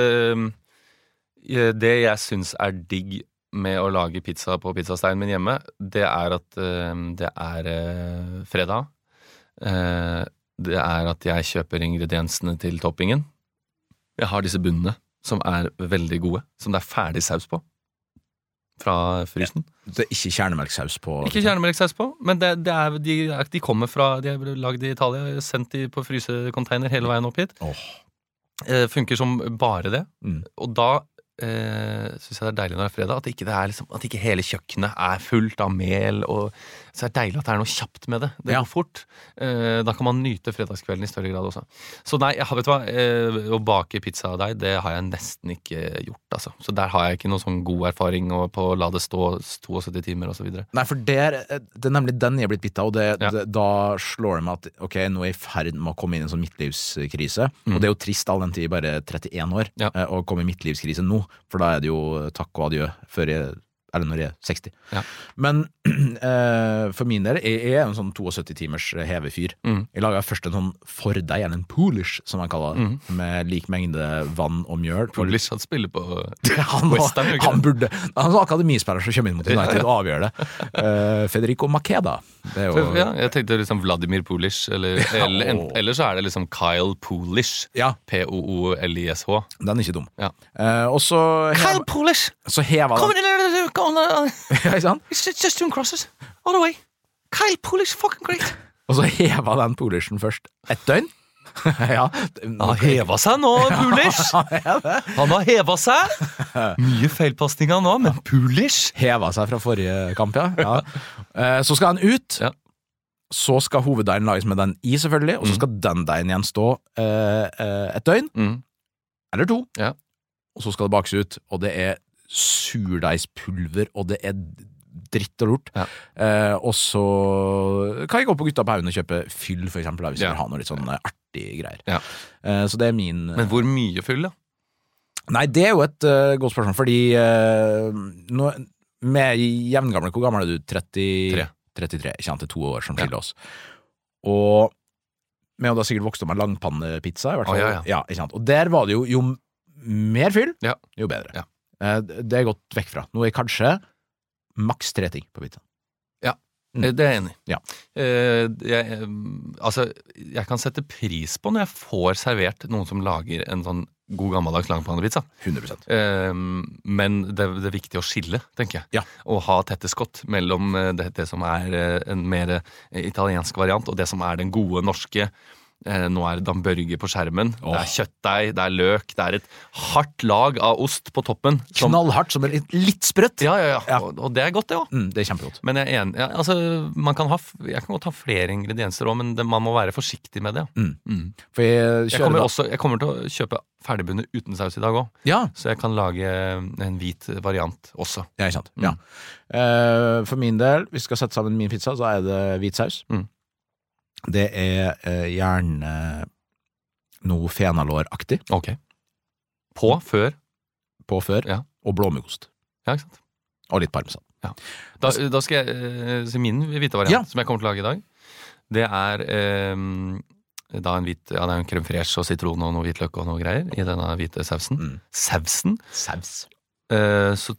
Speaker 3: eh, det jeg syns er digg med å lage pizza på pizzasteinen min hjemme, det er at eh, det er eh, fredag. Eh, det er at jeg kjøper ingrediensene til toppingen. Jeg har disse bunnene, som er veldig gode, som det er ferdig saus på. Fra frysen.
Speaker 2: Det er ikke kjernemelksaus på liksom.
Speaker 3: Ikke kjernemelksaus på, men det, det er, de, er- de kommer fra De er lagd i Italia, sendt i, på frysecontainer hele veien opp hit.
Speaker 2: Åh,
Speaker 3: Eh, funker som bare det.
Speaker 2: Mm.
Speaker 3: Og da eh, syns jeg det er deilig når det er fredag, at ikke, det er liksom, at ikke hele kjøkkenet er fullt av mel. Og, så er det deilig at det er noe kjapt med det. Det
Speaker 2: Ja.
Speaker 3: går fort. Eh, da kan man nyte fredagskvelden i større grad også. Så nei, jeg, har- vet du hva, eh, å bake pizza av deg, det har jeg nesten ikke gjort, altså. Så der har jeg ikke noen sånn god erfaring og på å la det stå 72 timer og så videre.
Speaker 2: Nei, for der, det er nemlig den jeg er blitt bitt av, og det,
Speaker 3: Ja.
Speaker 2: det, da slår det meg at ok, nå er jeg i ferd med å komme inn i en sånn midtlivskrise. Og det er jo trist all den tid, bare 31 år,
Speaker 3: Mm. Ja.
Speaker 2: eh, å komme i midtlivskrise nå, for da er det jo takk og adjø før jeg Eller når de er 60.
Speaker 3: Ja.
Speaker 2: Men *clears throat* eh, for min del, jeg jeg er en sånn 72-timers hevefyr.
Speaker 3: Mm.
Speaker 2: Jeg laga først en sånn fordeig, eller en polish, som man kaller det,
Speaker 3: Mm.
Speaker 2: med lik mengde vann og mjøl. og
Speaker 3: Pulis han spiller på
Speaker 2: han,
Speaker 3: West Ham, gjør ikke
Speaker 2: han
Speaker 3: det?
Speaker 2: burde Han er akademispiller som kommer inn mot United og avgjør det. Eh, Federico Makeda. Det er jo
Speaker 3: ja, Jeg tenkte liksom Vladimir Pulis, *laughs* eller, eller, en- eller så er det liksom Kyle Pulis.
Speaker 2: Ja,
Speaker 3: P-o-o-l-i-s-h.
Speaker 2: den er ikke dum.
Speaker 3: Ja.
Speaker 2: Eh, og så hev-
Speaker 3: Pulis!
Speaker 2: så heva den
Speaker 3: in, go on,
Speaker 2: *laughs* ja, ikke sant?
Speaker 3: it's just doing crosses. All the way. Kyle Pulis, fucking great.
Speaker 2: Og så heva den polishen først ett døgn. *laughs* ja,
Speaker 3: Han har heva seg *laughs* nå, Pulis! Han har heva seg! Mye feilpasninger nå, men Pulis
Speaker 2: heva seg fra forrige kamp, ja. ja. Eh, Så skal han ut.
Speaker 3: Ja.
Speaker 2: Så skal hoveddeigen lages med den i, selvfølgelig, og så
Speaker 3: Mm.
Speaker 2: skal den deigen igjen stå eh, eh, et døgn, eller to.
Speaker 3: Ja.
Speaker 2: Og så skal det bakes ut, og det er surdeigspulver, og det er dritt og lort.
Speaker 3: Ja.
Speaker 2: Eh, og så kan jeg gå på Gutta på haugen og kjøpe fyll, for eksempel, da, hvis
Speaker 3: Ja.
Speaker 2: jeg vil ha noe litt sånn eh, artige greier.
Speaker 3: Ja.
Speaker 2: Eh, så det er min
Speaker 3: Men hvor mye fyll, da?
Speaker 2: Nei, det er jo et eh, godt spørsmål, fordi eh, nå, med jevngamle Hvor gammel er du? 30,
Speaker 3: Tre.
Speaker 2: 33. Ikke sant, det er to år som
Speaker 3: Ja.
Speaker 2: skiller oss. Og vi har da sikkert vokst opp med langpannepizza, i hvert
Speaker 3: Å,
Speaker 2: fall.
Speaker 3: ja, ja.
Speaker 2: ikke sant? Og der var det jo jo mer fyll,
Speaker 3: Ja.
Speaker 2: jo bedre.
Speaker 3: Ja.
Speaker 2: Eh, det er jeg gått vekk fra. Nå er jeg kanskje maks tre ting på pizzaen. Mm.
Speaker 3: Eh, Det er jeg enig i.
Speaker 2: Ja.
Speaker 3: Eh, jeg, eh, altså, jeg kan sette pris på når jeg får servert noen som lager en sånn god gammeldags langpannepizza.
Speaker 2: 100
Speaker 3: Eh, men det, det er viktig å skille, tenker jeg.
Speaker 2: Ja.
Speaker 3: Og ha tette skott mellom eh, det, det som er eh, en mer eh, italiensk variant, og det som er den gode norske. Eh, nå er det Dan Børge på skjermen. Det
Speaker 2: Åh.
Speaker 3: er kjøttdeig, det er løk, det er et hardt lag av ost på toppen. som-
Speaker 2: Knallhardt, som er litt, litt sprøtt.
Speaker 3: Ja, ja, ja.
Speaker 2: Ja.
Speaker 3: Og, og det er godt, det òg.
Speaker 2: Mm, det er kjempegodt.
Speaker 3: Men jeg er enig ja, altså, man kan ha, f- Jeg kan godt ha flere ingredienser òg, men det, man må være forsiktig med det. ja.
Speaker 2: Mm.
Speaker 3: Mm.
Speaker 2: For jeg
Speaker 3: Jeg,
Speaker 2: kjører
Speaker 3: kommer
Speaker 2: da-
Speaker 3: også, jeg kommer til å kjøpe ferdigbundet uten saus i dag òg,
Speaker 2: Ja,
Speaker 3: så jeg kan lage en hvit variant også.
Speaker 2: Ja, ikke sant.
Speaker 3: Mm.
Speaker 2: Ja. Eh, for min del, hvis vi skal sette sammen min pizza, så er det hvit saus.
Speaker 3: Mm.
Speaker 2: Det er eh, gjerne noe fenalåraktig
Speaker 3: Ok På før.
Speaker 2: på før,
Speaker 3: Ja.
Speaker 2: og blåmuggost.
Speaker 3: Ja, ikke sant?
Speaker 2: Og litt parmesan.
Speaker 3: Da, da skal jeg eh, si min hvite variant,
Speaker 2: Ja.
Speaker 3: som jeg kommer til å lage i dag. Det er eh, da en hvit Ja, det er en crème fraîche og sitron og noe hvitløk og noe greier i denne hvite sausen.
Speaker 2: Mm.
Speaker 3: Sausen
Speaker 2: Saus.
Speaker 3: Eh, så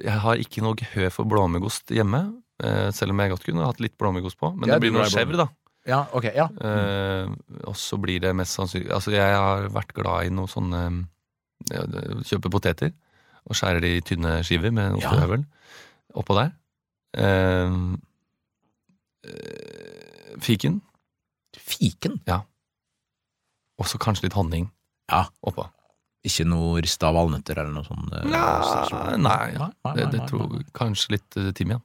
Speaker 3: jeg har ikke noe gehør for blåmuggost hjemme. eh, selv om jeg godt kunne hatt litt blåmuggost på. Men
Speaker 2: Jeg
Speaker 3: det blir
Speaker 2: er glad
Speaker 3: noe
Speaker 2: i
Speaker 3: chèvre, da.
Speaker 2: Ja, ok, ja.
Speaker 3: Eh, og så blir det mest sannsynlig Altså, jeg har vært glad i noe sånne ja, det- Kjøper poteter og skjærer de i tynne skiver med
Speaker 2: Ja.
Speaker 3: ostehøvel oppå der. Eh, eh, fiken.
Speaker 2: Fiken.
Speaker 3: Og så kanskje litt honning
Speaker 2: Ja.
Speaker 3: oppå.
Speaker 2: Ikke noe rista valnøtter eller noe sånt? eh,
Speaker 3: Nei,
Speaker 2: sånn-
Speaker 3: nei,
Speaker 2: nei,
Speaker 3: Det, det
Speaker 2: nei,
Speaker 3: tror
Speaker 2: nei.
Speaker 3: Kanskje litt eh, timian.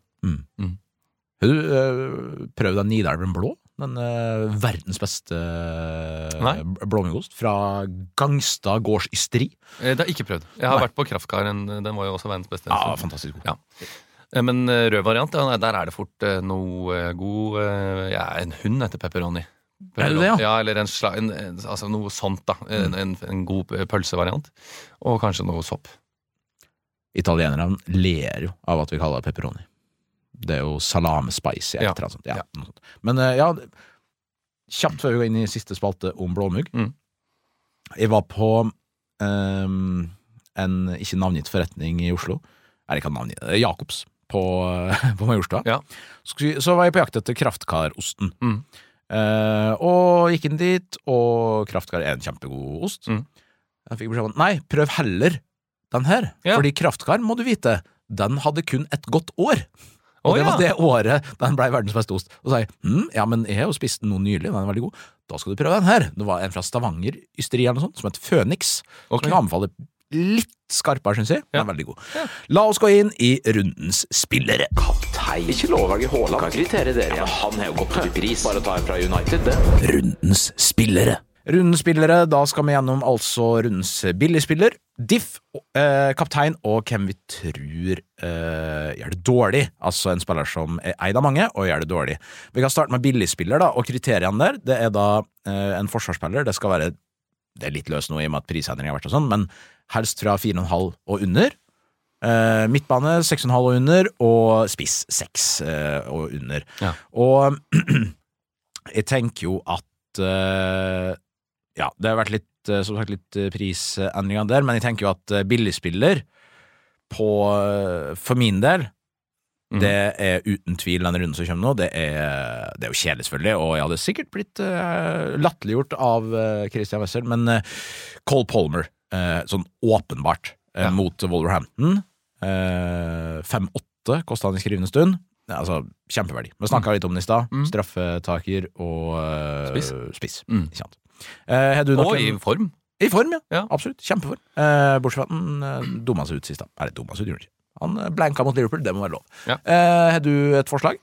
Speaker 2: Har du eh, prøvd den Nidelven blå? Den eh, verdens beste eh,
Speaker 3: Nei.
Speaker 2: bl- blåmuggost fra Gangstad gårdsysteri.
Speaker 3: Eh, Det har jeg ikke prøvd. Jeg har
Speaker 2: Nei.
Speaker 3: vært på Kraftkaren. Den var jo også verdens beste.
Speaker 2: Ja, fantastisk god.
Speaker 3: Ja. Eh, Men eh, rød variant, ja, nei, der er det fort eh, noe eh, god eh, Jeg er en hund etter pepperoni.
Speaker 2: Er du det, ja? Mm.
Speaker 3: ja, eller en sla, en, en, altså noe sånt, da. En, en, en god eh, pølsevariant. Og kanskje noe sopp.
Speaker 2: Italienerne ler jo av at vi kaller det pepperoni. Det er jo salame spice.
Speaker 3: Ja.
Speaker 2: Ja. Sånt. Ja, noe sånt. Men eh, ja, kjapt før vi går inn i siste spalte om blåmugg.
Speaker 3: Mm.
Speaker 2: Jeg var på ehm, en ikke navngitt forretning i Oslo. Eller ikke navngitt, eh, Jacobs på, på *laughs* Majorstua.
Speaker 3: Ja.
Speaker 2: Skulle- Så var jeg på jakt etter kraftkarosten.
Speaker 3: Mm.
Speaker 2: Eh, og gikk inn dit, og kraftkar er en kjempegod ost.
Speaker 3: Mm.
Speaker 2: Jeg fikk beskjed om at nei, prøv heller den her,
Speaker 3: Ja.
Speaker 2: fordi kraftkar, må du vite, den hadde kun et godt år. Og
Speaker 3: Å,
Speaker 2: det var
Speaker 3: ja.
Speaker 2: det året den ble verdens beste ost. Og så sa jeg hm, ja, men jeg har jo spist den nå nylig, den er veldig god. Da skal du prøve den her. Det var en fra Stavanger ysteri eller noe sånt, som het Føniks.
Speaker 3: Ok.
Speaker 2: Som jeg anbefaler litt skarpere, syns jeg. Den
Speaker 3: Ja.
Speaker 2: er veldig god. La oss gå inn i rundens spillere.
Speaker 1: Kaptein. Ikke lov å velge Haaland. Kan kritere dere. Ja, han har jo gått til pris. Bare ta en fra United, det.
Speaker 2: Rundens spillere. Rundens spillere, da skal vi gjennom altså rundens billigspiller, diff, eh, kaptein og hvem vi tror eh, gjør det dårlig. Altså en spiller som er eid av mange og gjør det dårlig. Vi kan starte med billigspiller, da, og kriteriene der. Det er da eh, en forsvarsspiller. Det skal være Det er litt løst nå i og med at prisendring har vært og sånn, men helst fra 4,5 og under. Eh, midtbane 6,5 og under, og spiss 6 eh, og under.
Speaker 3: Ja.
Speaker 2: Og *clears throat* jeg tenker jo at eh, Ja, det har vært litt eh, som sagt litt eh, prisendringer der, men jeg tenker jo at eh, billigspiller på, eh, for min del
Speaker 3: Mhm.
Speaker 2: Det er uten tvil den runden som kommer nå. Det er, det er jo kjedelig, selvfølgelig, og jeg hadde sikkert blitt eh, latterliggjort av eh, Christian Wessel, men eh, Cole Palmer, eh, sånn åpenbart, eh,
Speaker 3: Ja.
Speaker 2: mot Wolverhampton. Eh, 5-8 kosta han i skrivende stund. Ja, Altså, kjempeverdi. Vi snakka litt om den i stad.
Speaker 3: Mm.
Speaker 2: Straffetaker og eh,
Speaker 3: Spiss.
Speaker 2: spiss.
Speaker 3: Mm.
Speaker 2: Ikke sant. Eh, har du nok
Speaker 3: Og i
Speaker 2: en-
Speaker 3: form.
Speaker 2: i form, ja.
Speaker 3: Ja.
Speaker 2: Absolutt. Kjempeform. Eh, bortsett fra at han eh, dumma seg ut sist, da. Eller dumma seg ut, gjorde han ikke. Han eh, blanka mot Liverpool, det må være lov.
Speaker 3: Ja.
Speaker 2: Eh, har du et forslag?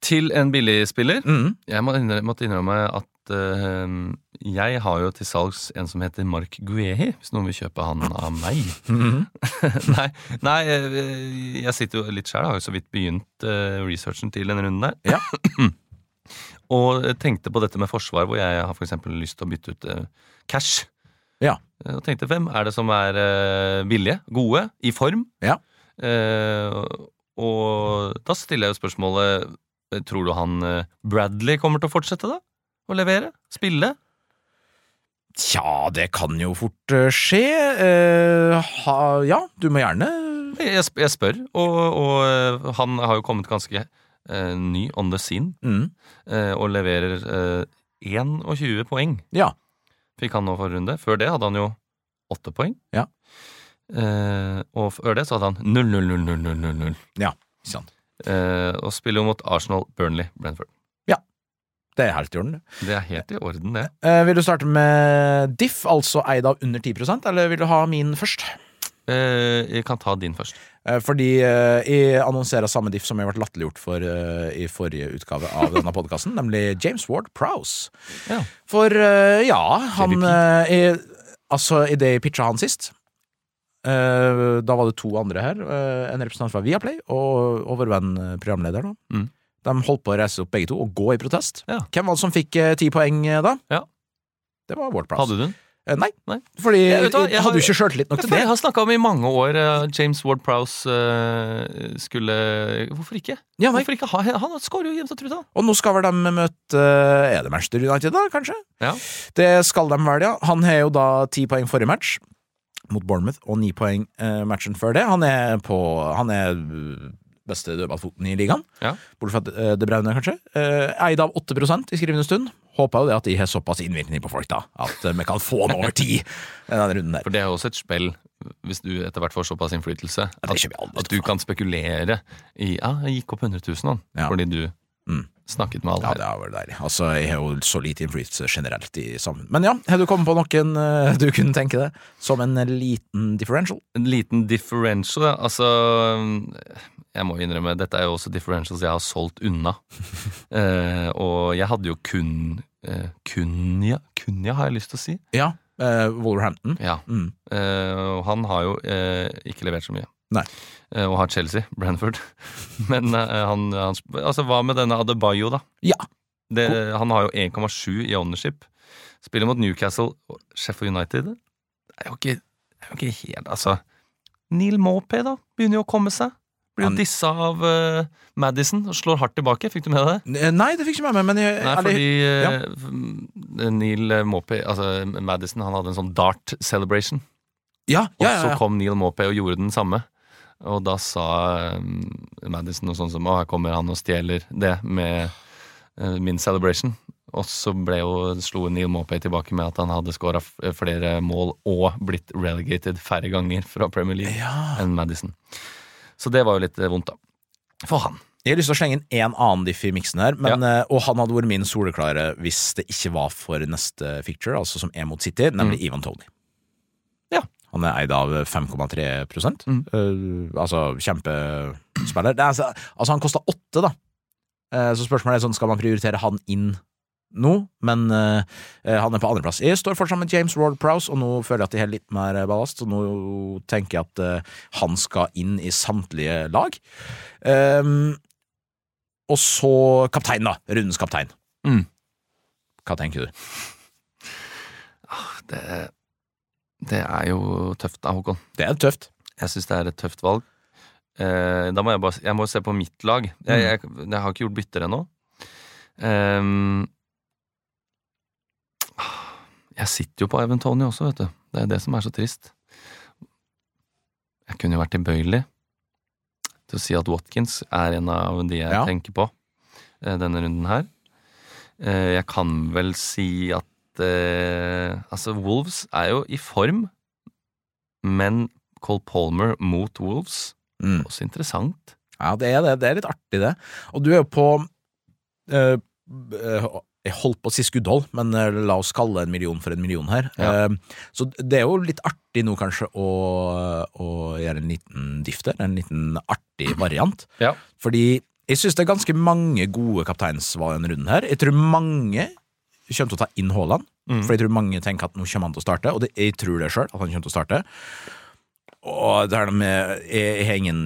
Speaker 3: Til en billig spiller.
Speaker 2: Mm.
Speaker 3: Jeg må innrø- måtte innrømme at eh, jeg har jo til salgs en som heter Mark Guehi, hvis noen vil kjøpe han av
Speaker 2: *laughs*
Speaker 3: meg. *laughs* nei, nei, eh, jeg sitter jo litt sjæl, har jo så vidt begynt eh, researchen til denne runden der.
Speaker 2: Ja.
Speaker 3: *clears throat* og tenkte på dette med forsvar, hvor jeg har for eksempel lyst til å bytte ut eh, cash.
Speaker 2: Ja.
Speaker 3: Eh, Og tenkte hvem er det som er eh, billige, gode, i form?
Speaker 2: Ja.
Speaker 3: Eh, og da stiller jeg jo spørsmålet Tror du han eh, Bradley kommer til å fortsette da? Å levere? Spille?
Speaker 2: Tja, det kan jo fort eh, skje. Eh, ha, ja, du må gjerne
Speaker 3: Jeg, sp- jeg spør, og, og eh, han har jo kommet ganske eh, ny on the scene,
Speaker 2: mm.
Speaker 3: eh, og leverer eh, 21 poeng.
Speaker 2: Ja.
Speaker 3: Fikk han nå forrige runde. Før det hadde han jo 8 poeng.
Speaker 2: Ja.
Speaker 3: Eh, og før det så hadde han 0-0-0-0-0-0.
Speaker 2: Ikke sant.
Speaker 3: Eh, og spiller jo mot Arsenal, Burnley, Brentford.
Speaker 2: Det er helt i orden, det.
Speaker 3: Det er helt i orden, det.
Speaker 2: Eh, vil du starte med diff, altså eid av under 10 eller vil du ha min først?
Speaker 3: Eh, jeg kan ta din først.
Speaker 2: Eh, Fordi eh, jeg annonserer samme diff som jeg ble latterliggjort for eh, i forrige utgave av
Speaker 3: *laughs*
Speaker 2: denne podkasten, nemlig James Ward Prowse.
Speaker 3: Ja.
Speaker 2: For eh, ja, han
Speaker 3: JVP.
Speaker 2: eh, i, Altså, i det jeg pitcha han sist eh, Da var det to andre her. eh, en representant fra Viaplay og, og vår venn eh, programleder, da.
Speaker 3: Mm.
Speaker 2: De holdt på å reise opp begge to og gå i protest.
Speaker 3: Ja.
Speaker 2: Hvem var det som fikk eh, ti poeng eh, da?
Speaker 3: Ja.
Speaker 2: Det var Ward Prowse.
Speaker 3: Hadde du den?
Speaker 2: Eh, nei.
Speaker 3: Nei.
Speaker 2: Fordi
Speaker 3: Jeg
Speaker 2: jeg,
Speaker 3: vet hva, jeg har-
Speaker 2: hadde jo ikke sjøltillit nok til det.
Speaker 3: Jeg har snakka om i mange år eh, James Ward-Prowse eh, skulle Hvorfor ikke?
Speaker 2: Ja, nei.
Speaker 3: Hvorfor ikke ha Han skårer jo jevnt og trutt, han.
Speaker 2: Og nå skal vel de møte eh, Er det Manchester United, da, kanskje?
Speaker 3: Ja.
Speaker 2: Det skal de vel, ja. Han har jo da ti poeng forrige match mot Bournemouth, og ni poeng eh, matchen før det. Han er på Han er eh, beste dødballfoten i ligaen.
Speaker 3: Ja.
Speaker 2: Bortsett fra eh, De Braune, kanskje. Eh, Eid av 8 i skrivende stund. Håper jo det at de har såpass innvirkning på folk, da, at eh, vi kan få han over ti denne runden der.
Speaker 3: For det er jo også et spill, hvis du etter hvert får såpass innflytelse,
Speaker 2: det
Speaker 3: at,
Speaker 2: kjøper jeg aldri
Speaker 3: at du kan spekulere i Ja, jeg gikk opp 100 000, han,
Speaker 2: Ja.
Speaker 3: fordi du
Speaker 2: Mm.
Speaker 3: snakket med
Speaker 2: Ja,
Speaker 3: alle her.
Speaker 2: det har vært deilig. Altså, jeg har jo så lite innflytelse generelt i samfunnet. Men ja, har du kommet på noen eh, du kunne tenke deg som en liten differential?
Speaker 3: En liten differential, ja. Altså Jeg må innrømme, dette er jo også differentials jeg har solgt
Speaker 2: *laughs*
Speaker 3: unna. eh, og jeg hadde jo kun eh, Kunja, Kunja, har jeg lyst til å si.
Speaker 2: Ja, eh, Wolverhampton.
Speaker 3: Ja.
Speaker 2: Mm.
Speaker 3: Eh, og han har jo eh, ikke levert så mye.
Speaker 2: Nei.
Speaker 3: Eh, og har Chelsea, *laughs* Branford. Men eh, han, han Altså, hva med denne Adebayo, da?
Speaker 2: Ja.
Speaker 3: Det, han har jo 1,7 i ownership. Spiller mot Newcastle og Sheffield United. Det er jo ikke, det er jo ikke helt Altså Neil Maupay, da, begynner jo å komme seg. Blir
Speaker 2: Han-
Speaker 3: jo dissa av eh, Madison og slår hardt tilbake. Fikk du med deg det?
Speaker 2: N- Eh, Nei, det fikk ikke jeg med meg, men jeg,
Speaker 3: Nei,
Speaker 2: eller-
Speaker 3: fordi eh, Neil Maupay Altså Madison, han hadde en sånn dart celebration.
Speaker 2: ja,
Speaker 3: Og
Speaker 2: ja, ja,
Speaker 3: så
Speaker 2: ja.
Speaker 3: kom Neil Maupay og gjorde den samme. Og da sa eh, Madison noe sånt som Å, her kommer han og stjeler det med eh, min celebration. Og så ble jo, slo Neil Maupay tilbake med at han hadde skåra flere mål og blitt relegated færre ganger fra Premier League
Speaker 2: ja.
Speaker 3: enn Madison. Så det var jo litt eh, vondt, da. For han.
Speaker 2: Jeg har lyst til å slenge inn en annen diff i miksen her, men, eh, og han hadde vært min soleklare hvis det ikke var for neste picture, altså som er mot City, nemlig Ivan Tony.
Speaker 3: Ja.
Speaker 2: Han er eid av 5,3
Speaker 3: Mm.
Speaker 2: eh, altså kjempespiller. Det er, altså, altså, han kosta åtte, da. Eh, så spørsmålet er sånn, skal man prioritere han inn nå? Men eh, eh, han er på andreplass. Jeg står fortsatt med James Ward Prowse, og nå føler jeg at de har litt mer eh, ballast, så nå tenker jeg at eh, han skal inn i samtlige lag. Ehm, og så kaptein, da. Rundens kaptein.
Speaker 3: Mm.
Speaker 2: Hva tenker du?
Speaker 3: Det, det er jo tøft da, Håkon.
Speaker 2: Det er tøft.
Speaker 3: Jeg syns det er et tøft valg. Eh, da må jeg bare Jeg må se på mitt lag. Jeg, jeg, jeg har ikke gjort bytter ennå. Ehm, jeg sitter jo på Ivan Tony også, vet du. Det er det som er så trist. Jeg kunne jo vært tilbøyelig til å si at Watkins er en av de jeg
Speaker 2: Ja.
Speaker 3: tenker på eh, denne runden her. Eh, Jeg kan vel si at eh, Altså, Wolves er jo i form, men Cole Palmer mot Wolves
Speaker 2: Mm.
Speaker 3: Også interessant.
Speaker 2: Ja, det er det. Det er litt artig, det. Og du er jo på eh, eh, Jeg holdt på å si skuddhold, men eh, la oss kalle en million for en million her.
Speaker 3: Ja.
Speaker 2: Eh, så det er jo litt artig nå, kanskje, å, å gjøre en liten diff der. En liten artig *clears throat* variant.
Speaker 3: Ja.
Speaker 2: Fordi jeg syns det er ganske mange gode kapteinsvalg i denne runden her. Jeg tror mange kommer til å ta inn Haaland.
Speaker 3: Mm.
Speaker 2: For jeg tror mange tenker at nå kommer han til å starte, og det, jeg tror det sjøl, at han kommer til å starte. Og det her med Jeg jeg har ingen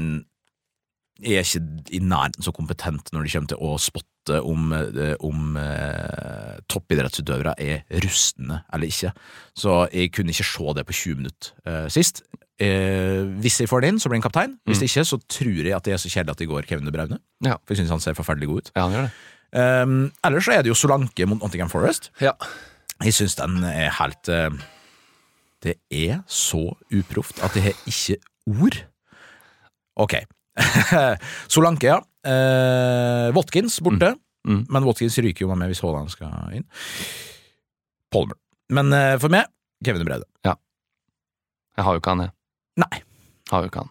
Speaker 2: Jeg er ikke i nærheten så kompetent når det kommer til å spotte om, eh, om eh, toppidrettsutøvere er rustne eller ikke. Så jeg kunne ikke se det på 20 minutter eh, sist. Eh, hvis jeg får det inn, så blir han kaptein. Hvis ikke, så tror jeg at det er så kjedelig at det går Kevin De Braune.
Speaker 3: Ja.
Speaker 2: For jeg syns han ser forferdelig god ut.
Speaker 3: Ja, han gjør det.
Speaker 2: Um, ellers så er det jo Solanke mot Nottingham Forest.
Speaker 3: Ja.
Speaker 2: Jeg syns den er helt eh, Det er så uproft at jeg har ikke ord. Ok. *laughs* Solanke, ja. Eh, Watkins borte.
Speaker 3: Mm. Mm.
Speaker 2: Men Watkins ryker jo med meg hvis Haaland skal inn. Palmer. Men eh, for meg, Kevin De Brede.
Speaker 3: Jeg har jo ikke han, jeg.
Speaker 2: Nei.
Speaker 3: Har jo ikke han.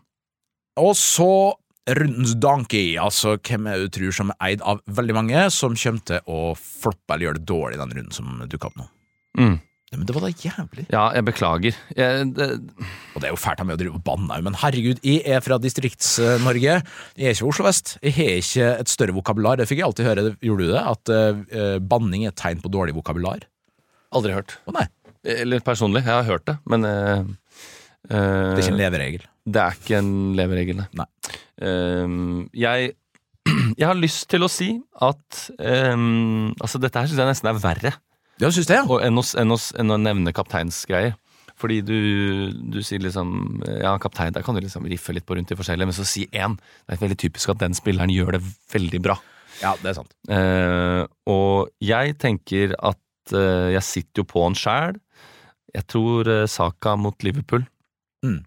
Speaker 2: Og så rundens donkey, altså hvem jeg tror som er eid av veldig mange, som kommer til å floppe eller gjøre det dårlig den runden som dukker opp nå.
Speaker 3: Mm.
Speaker 2: Nei, Men det var da jævlig.
Speaker 3: Ja, jeg beklager. Jeg, det,
Speaker 2: Og det er jo fælt av meg å drive og banne, men herregud, jeg er fra Distrikts-Norge. Jeg er ikke fra Oslo vest. Jeg har ikke et større vokabular. Det fikk jeg alltid høre, gjorde du det? At eh, banning er et tegn på dårlig vokabular.
Speaker 3: aldri hørt.
Speaker 2: Å nei,
Speaker 3: Eller personlig, jeg har hørt det, men eh, eh,
Speaker 2: det er ikke en leveregel.
Speaker 3: det er ikke en leveregel,
Speaker 2: Nei.
Speaker 3: Ehm, jeg, *clears throat* jeg har lyst til å si at ehm, Altså, dette her syns jeg nesten er verre
Speaker 2: Ja, syns det, ja.
Speaker 3: og, enn, å, s- enn, å, s- enn å nevne kapteinsgreier. Fordi du, du sier liksom Ja, kaptein, der kan du liksom riffe litt på rundt de forskjellige, men så si én. Det er veldig typisk at den spilleren gjør det veldig bra.
Speaker 2: Ja, det er sant.
Speaker 3: Eh, og jeg tenker at eh, jeg sitter jo på en sjæl. Jeg tror eh, Saka mot Liverpool
Speaker 2: Mm.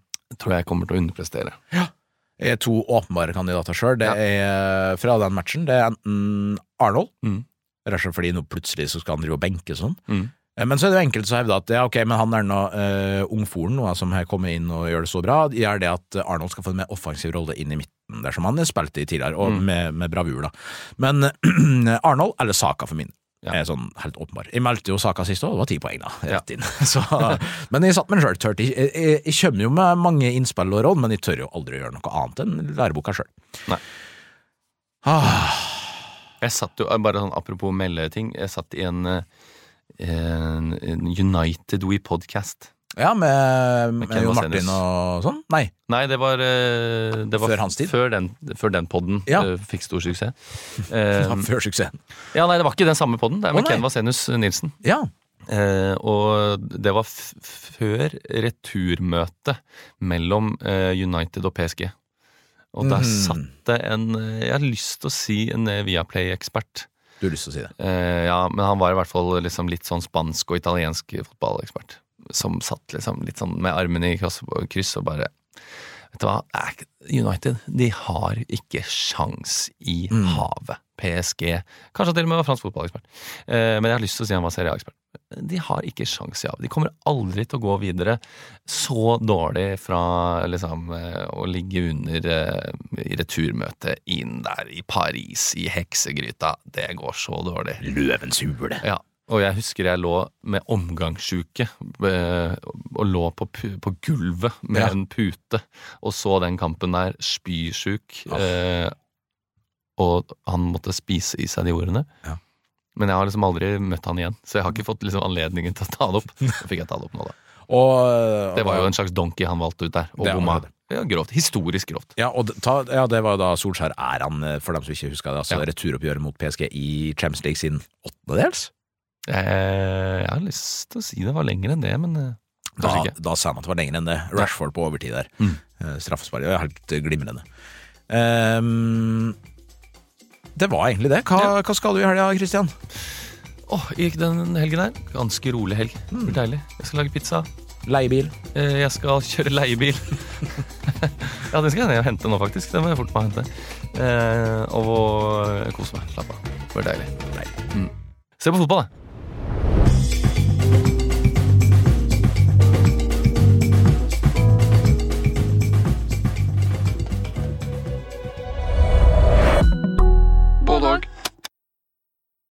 Speaker 3: tror jeg kommer til å underprestere.
Speaker 2: Jeg er to åpenbare kandidater sjøl. Det
Speaker 3: Ja.
Speaker 2: er eh, fra den matchen. Det er enten Arnold,
Speaker 3: Mm.
Speaker 2: rett og slett fordi nå plutselig så skal han drive og benke sånn.
Speaker 3: Mm.
Speaker 2: Eh, Men så er det jo enkelte som hevder at ja, ok, men han er nå uh, ungforen nå, som har kommet inn og gjør det så bra, gjør det at Arnold skal få en mer offensiv rolle inn i midten, dersom han spilte i tidligere, og
Speaker 3: Mm.
Speaker 2: med, med bravur, da. Men *clears throat* Arnold eller Saka for min.
Speaker 3: Ja.
Speaker 2: Er sånn helt åpenbar. Jeg meldte jo Saka sist òg, det var ti poeng, da. Rett inn. *laughs* Så, men jeg satt med den sjøl, tørte ikke. Jeg, jeg, jeg kommer jo med mange innspill og råd, men jeg tør jo aldri å gjøre noe annet enn læreboka sjøl.
Speaker 3: Nei.
Speaker 2: Ah,
Speaker 3: Jeg satt jo, bare sånn Apropos meldeting, jeg satt i en, eh, en, en United We podcast.
Speaker 2: ja, med, med
Speaker 3: Ken
Speaker 2: Jon
Speaker 3: Vasenius.
Speaker 2: Martin og sånn? Nei.
Speaker 3: Nei, det var, eh, det var
Speaker 2: Før hans tid?
Speaker 3: Før den, før den podden
Speaker 2: Ja.
Speaker 3: eh, fikk stor
Speaker 2: *laughs*
Speaker 3: suksess.
Speaker 2: Ja,
Speaker 3: Eh,
Speaker 2: før suksessen.
Speaker 3: ja, nei, det var ikke den samme podden. Det er med
Speaker 2: Å, nei.
Speaker 3: Ken Vasenius Nilsen.
Speaker 2: Ja.
Speaker 3: Eh, og det var f før returmøtet mellom eh, United og PSG. Og der
Speaker 2: Mm.
Speaker 3: satt det en eh, Jeg har lyst til å si en eh, Viaplay-ekspert.
Speaker 2: Du har lyst til å si det.
Speaker 3: Eh, ja, men han var i hvert fall liksom litt sånn spansk og italiensk fotballekspert. Som satt liksom litt sånn med armene i kryss, kryss og bare Vet du hva, Det er ikke- United de har ikke sjans i
Speaker 2: Mm.
Speaker 3: havet. PSG Kanskje han til og med var fransk fotballekspert. Eh, men jeg har lyst til å si han var Serie A-ekspert. De har ikke sjans i havet. De kommer aldri til å gå videre så dårlig fra liksom eh, å ligge under eh, i returmøtet inn der i Paris, i heksegryta. Det går så dårlig.
Speaker 2: Løvens hule.
Speaker 3: Ja, og jeg husker jeg lå med omgangssjuke eh, og lå på, pu- på gulvet med
Speaker 2: Ja.
Speaker 3: en pute og så den kampen der, spysjuk.
Speaker 2: Ah.
Speaker 3: Eh, og han måtte spise i seg de ordene.
Speaker 2: Ja.
Speaker 3: Men jeg har liksom aldri møtt han igjen, så jeg har ikke fått liksom anledningen til å ta det opp. Så fikk jeg ta det opp nå, da.
Speaker 2: Og,
Speaker 3: Det var jo en slags donkey han valgte ut der, og
Speaker 2: Det var
Speaker 3: bomma.
Speaker 2: det.
Speaker 3: Ja, grovt. Historisk grovt.
Speaker 2: ja, og det- ta, ja, det var jo da Solskjær er han, eh, for dem som ikke husker det. Altså
Speaker 3: Ja.
Speaker 2: returoppgjøret mot PSG i Champions League siden åttendedels.
Speaker 3: Jeg, jeg har lyst til å si det var lenger enn det, men eh, kanskje
Speaker 2: Da,
Speaker 3: ikke.
Speaker 2: da sa han at det var lenger enn det. Rashford på overtid der.
Speaker 3: Mm.
Speaker 2: eh, straffespark. Det er helt glimrende. Ehm, det var egentlig det. Hva, hva skal du i helga, Christian?
Speaker 3: Åh, gikk den helgen her. Mm. Ganske rolig helg. Det blir deilig. Jeg skal lage pizza.
Speaker 2: Leiebil?
Speaker 3: Eh, Jeg skal kjøre leiebil. ja, den skal jeg ned og hente nå, faktisk. Den må jeg fort meg hente. Eh, Og kose meg. Slapp av. Det blir deilig.
Speaker 2: Deilig.
Speaker 3: Mm. Se på fotball, da.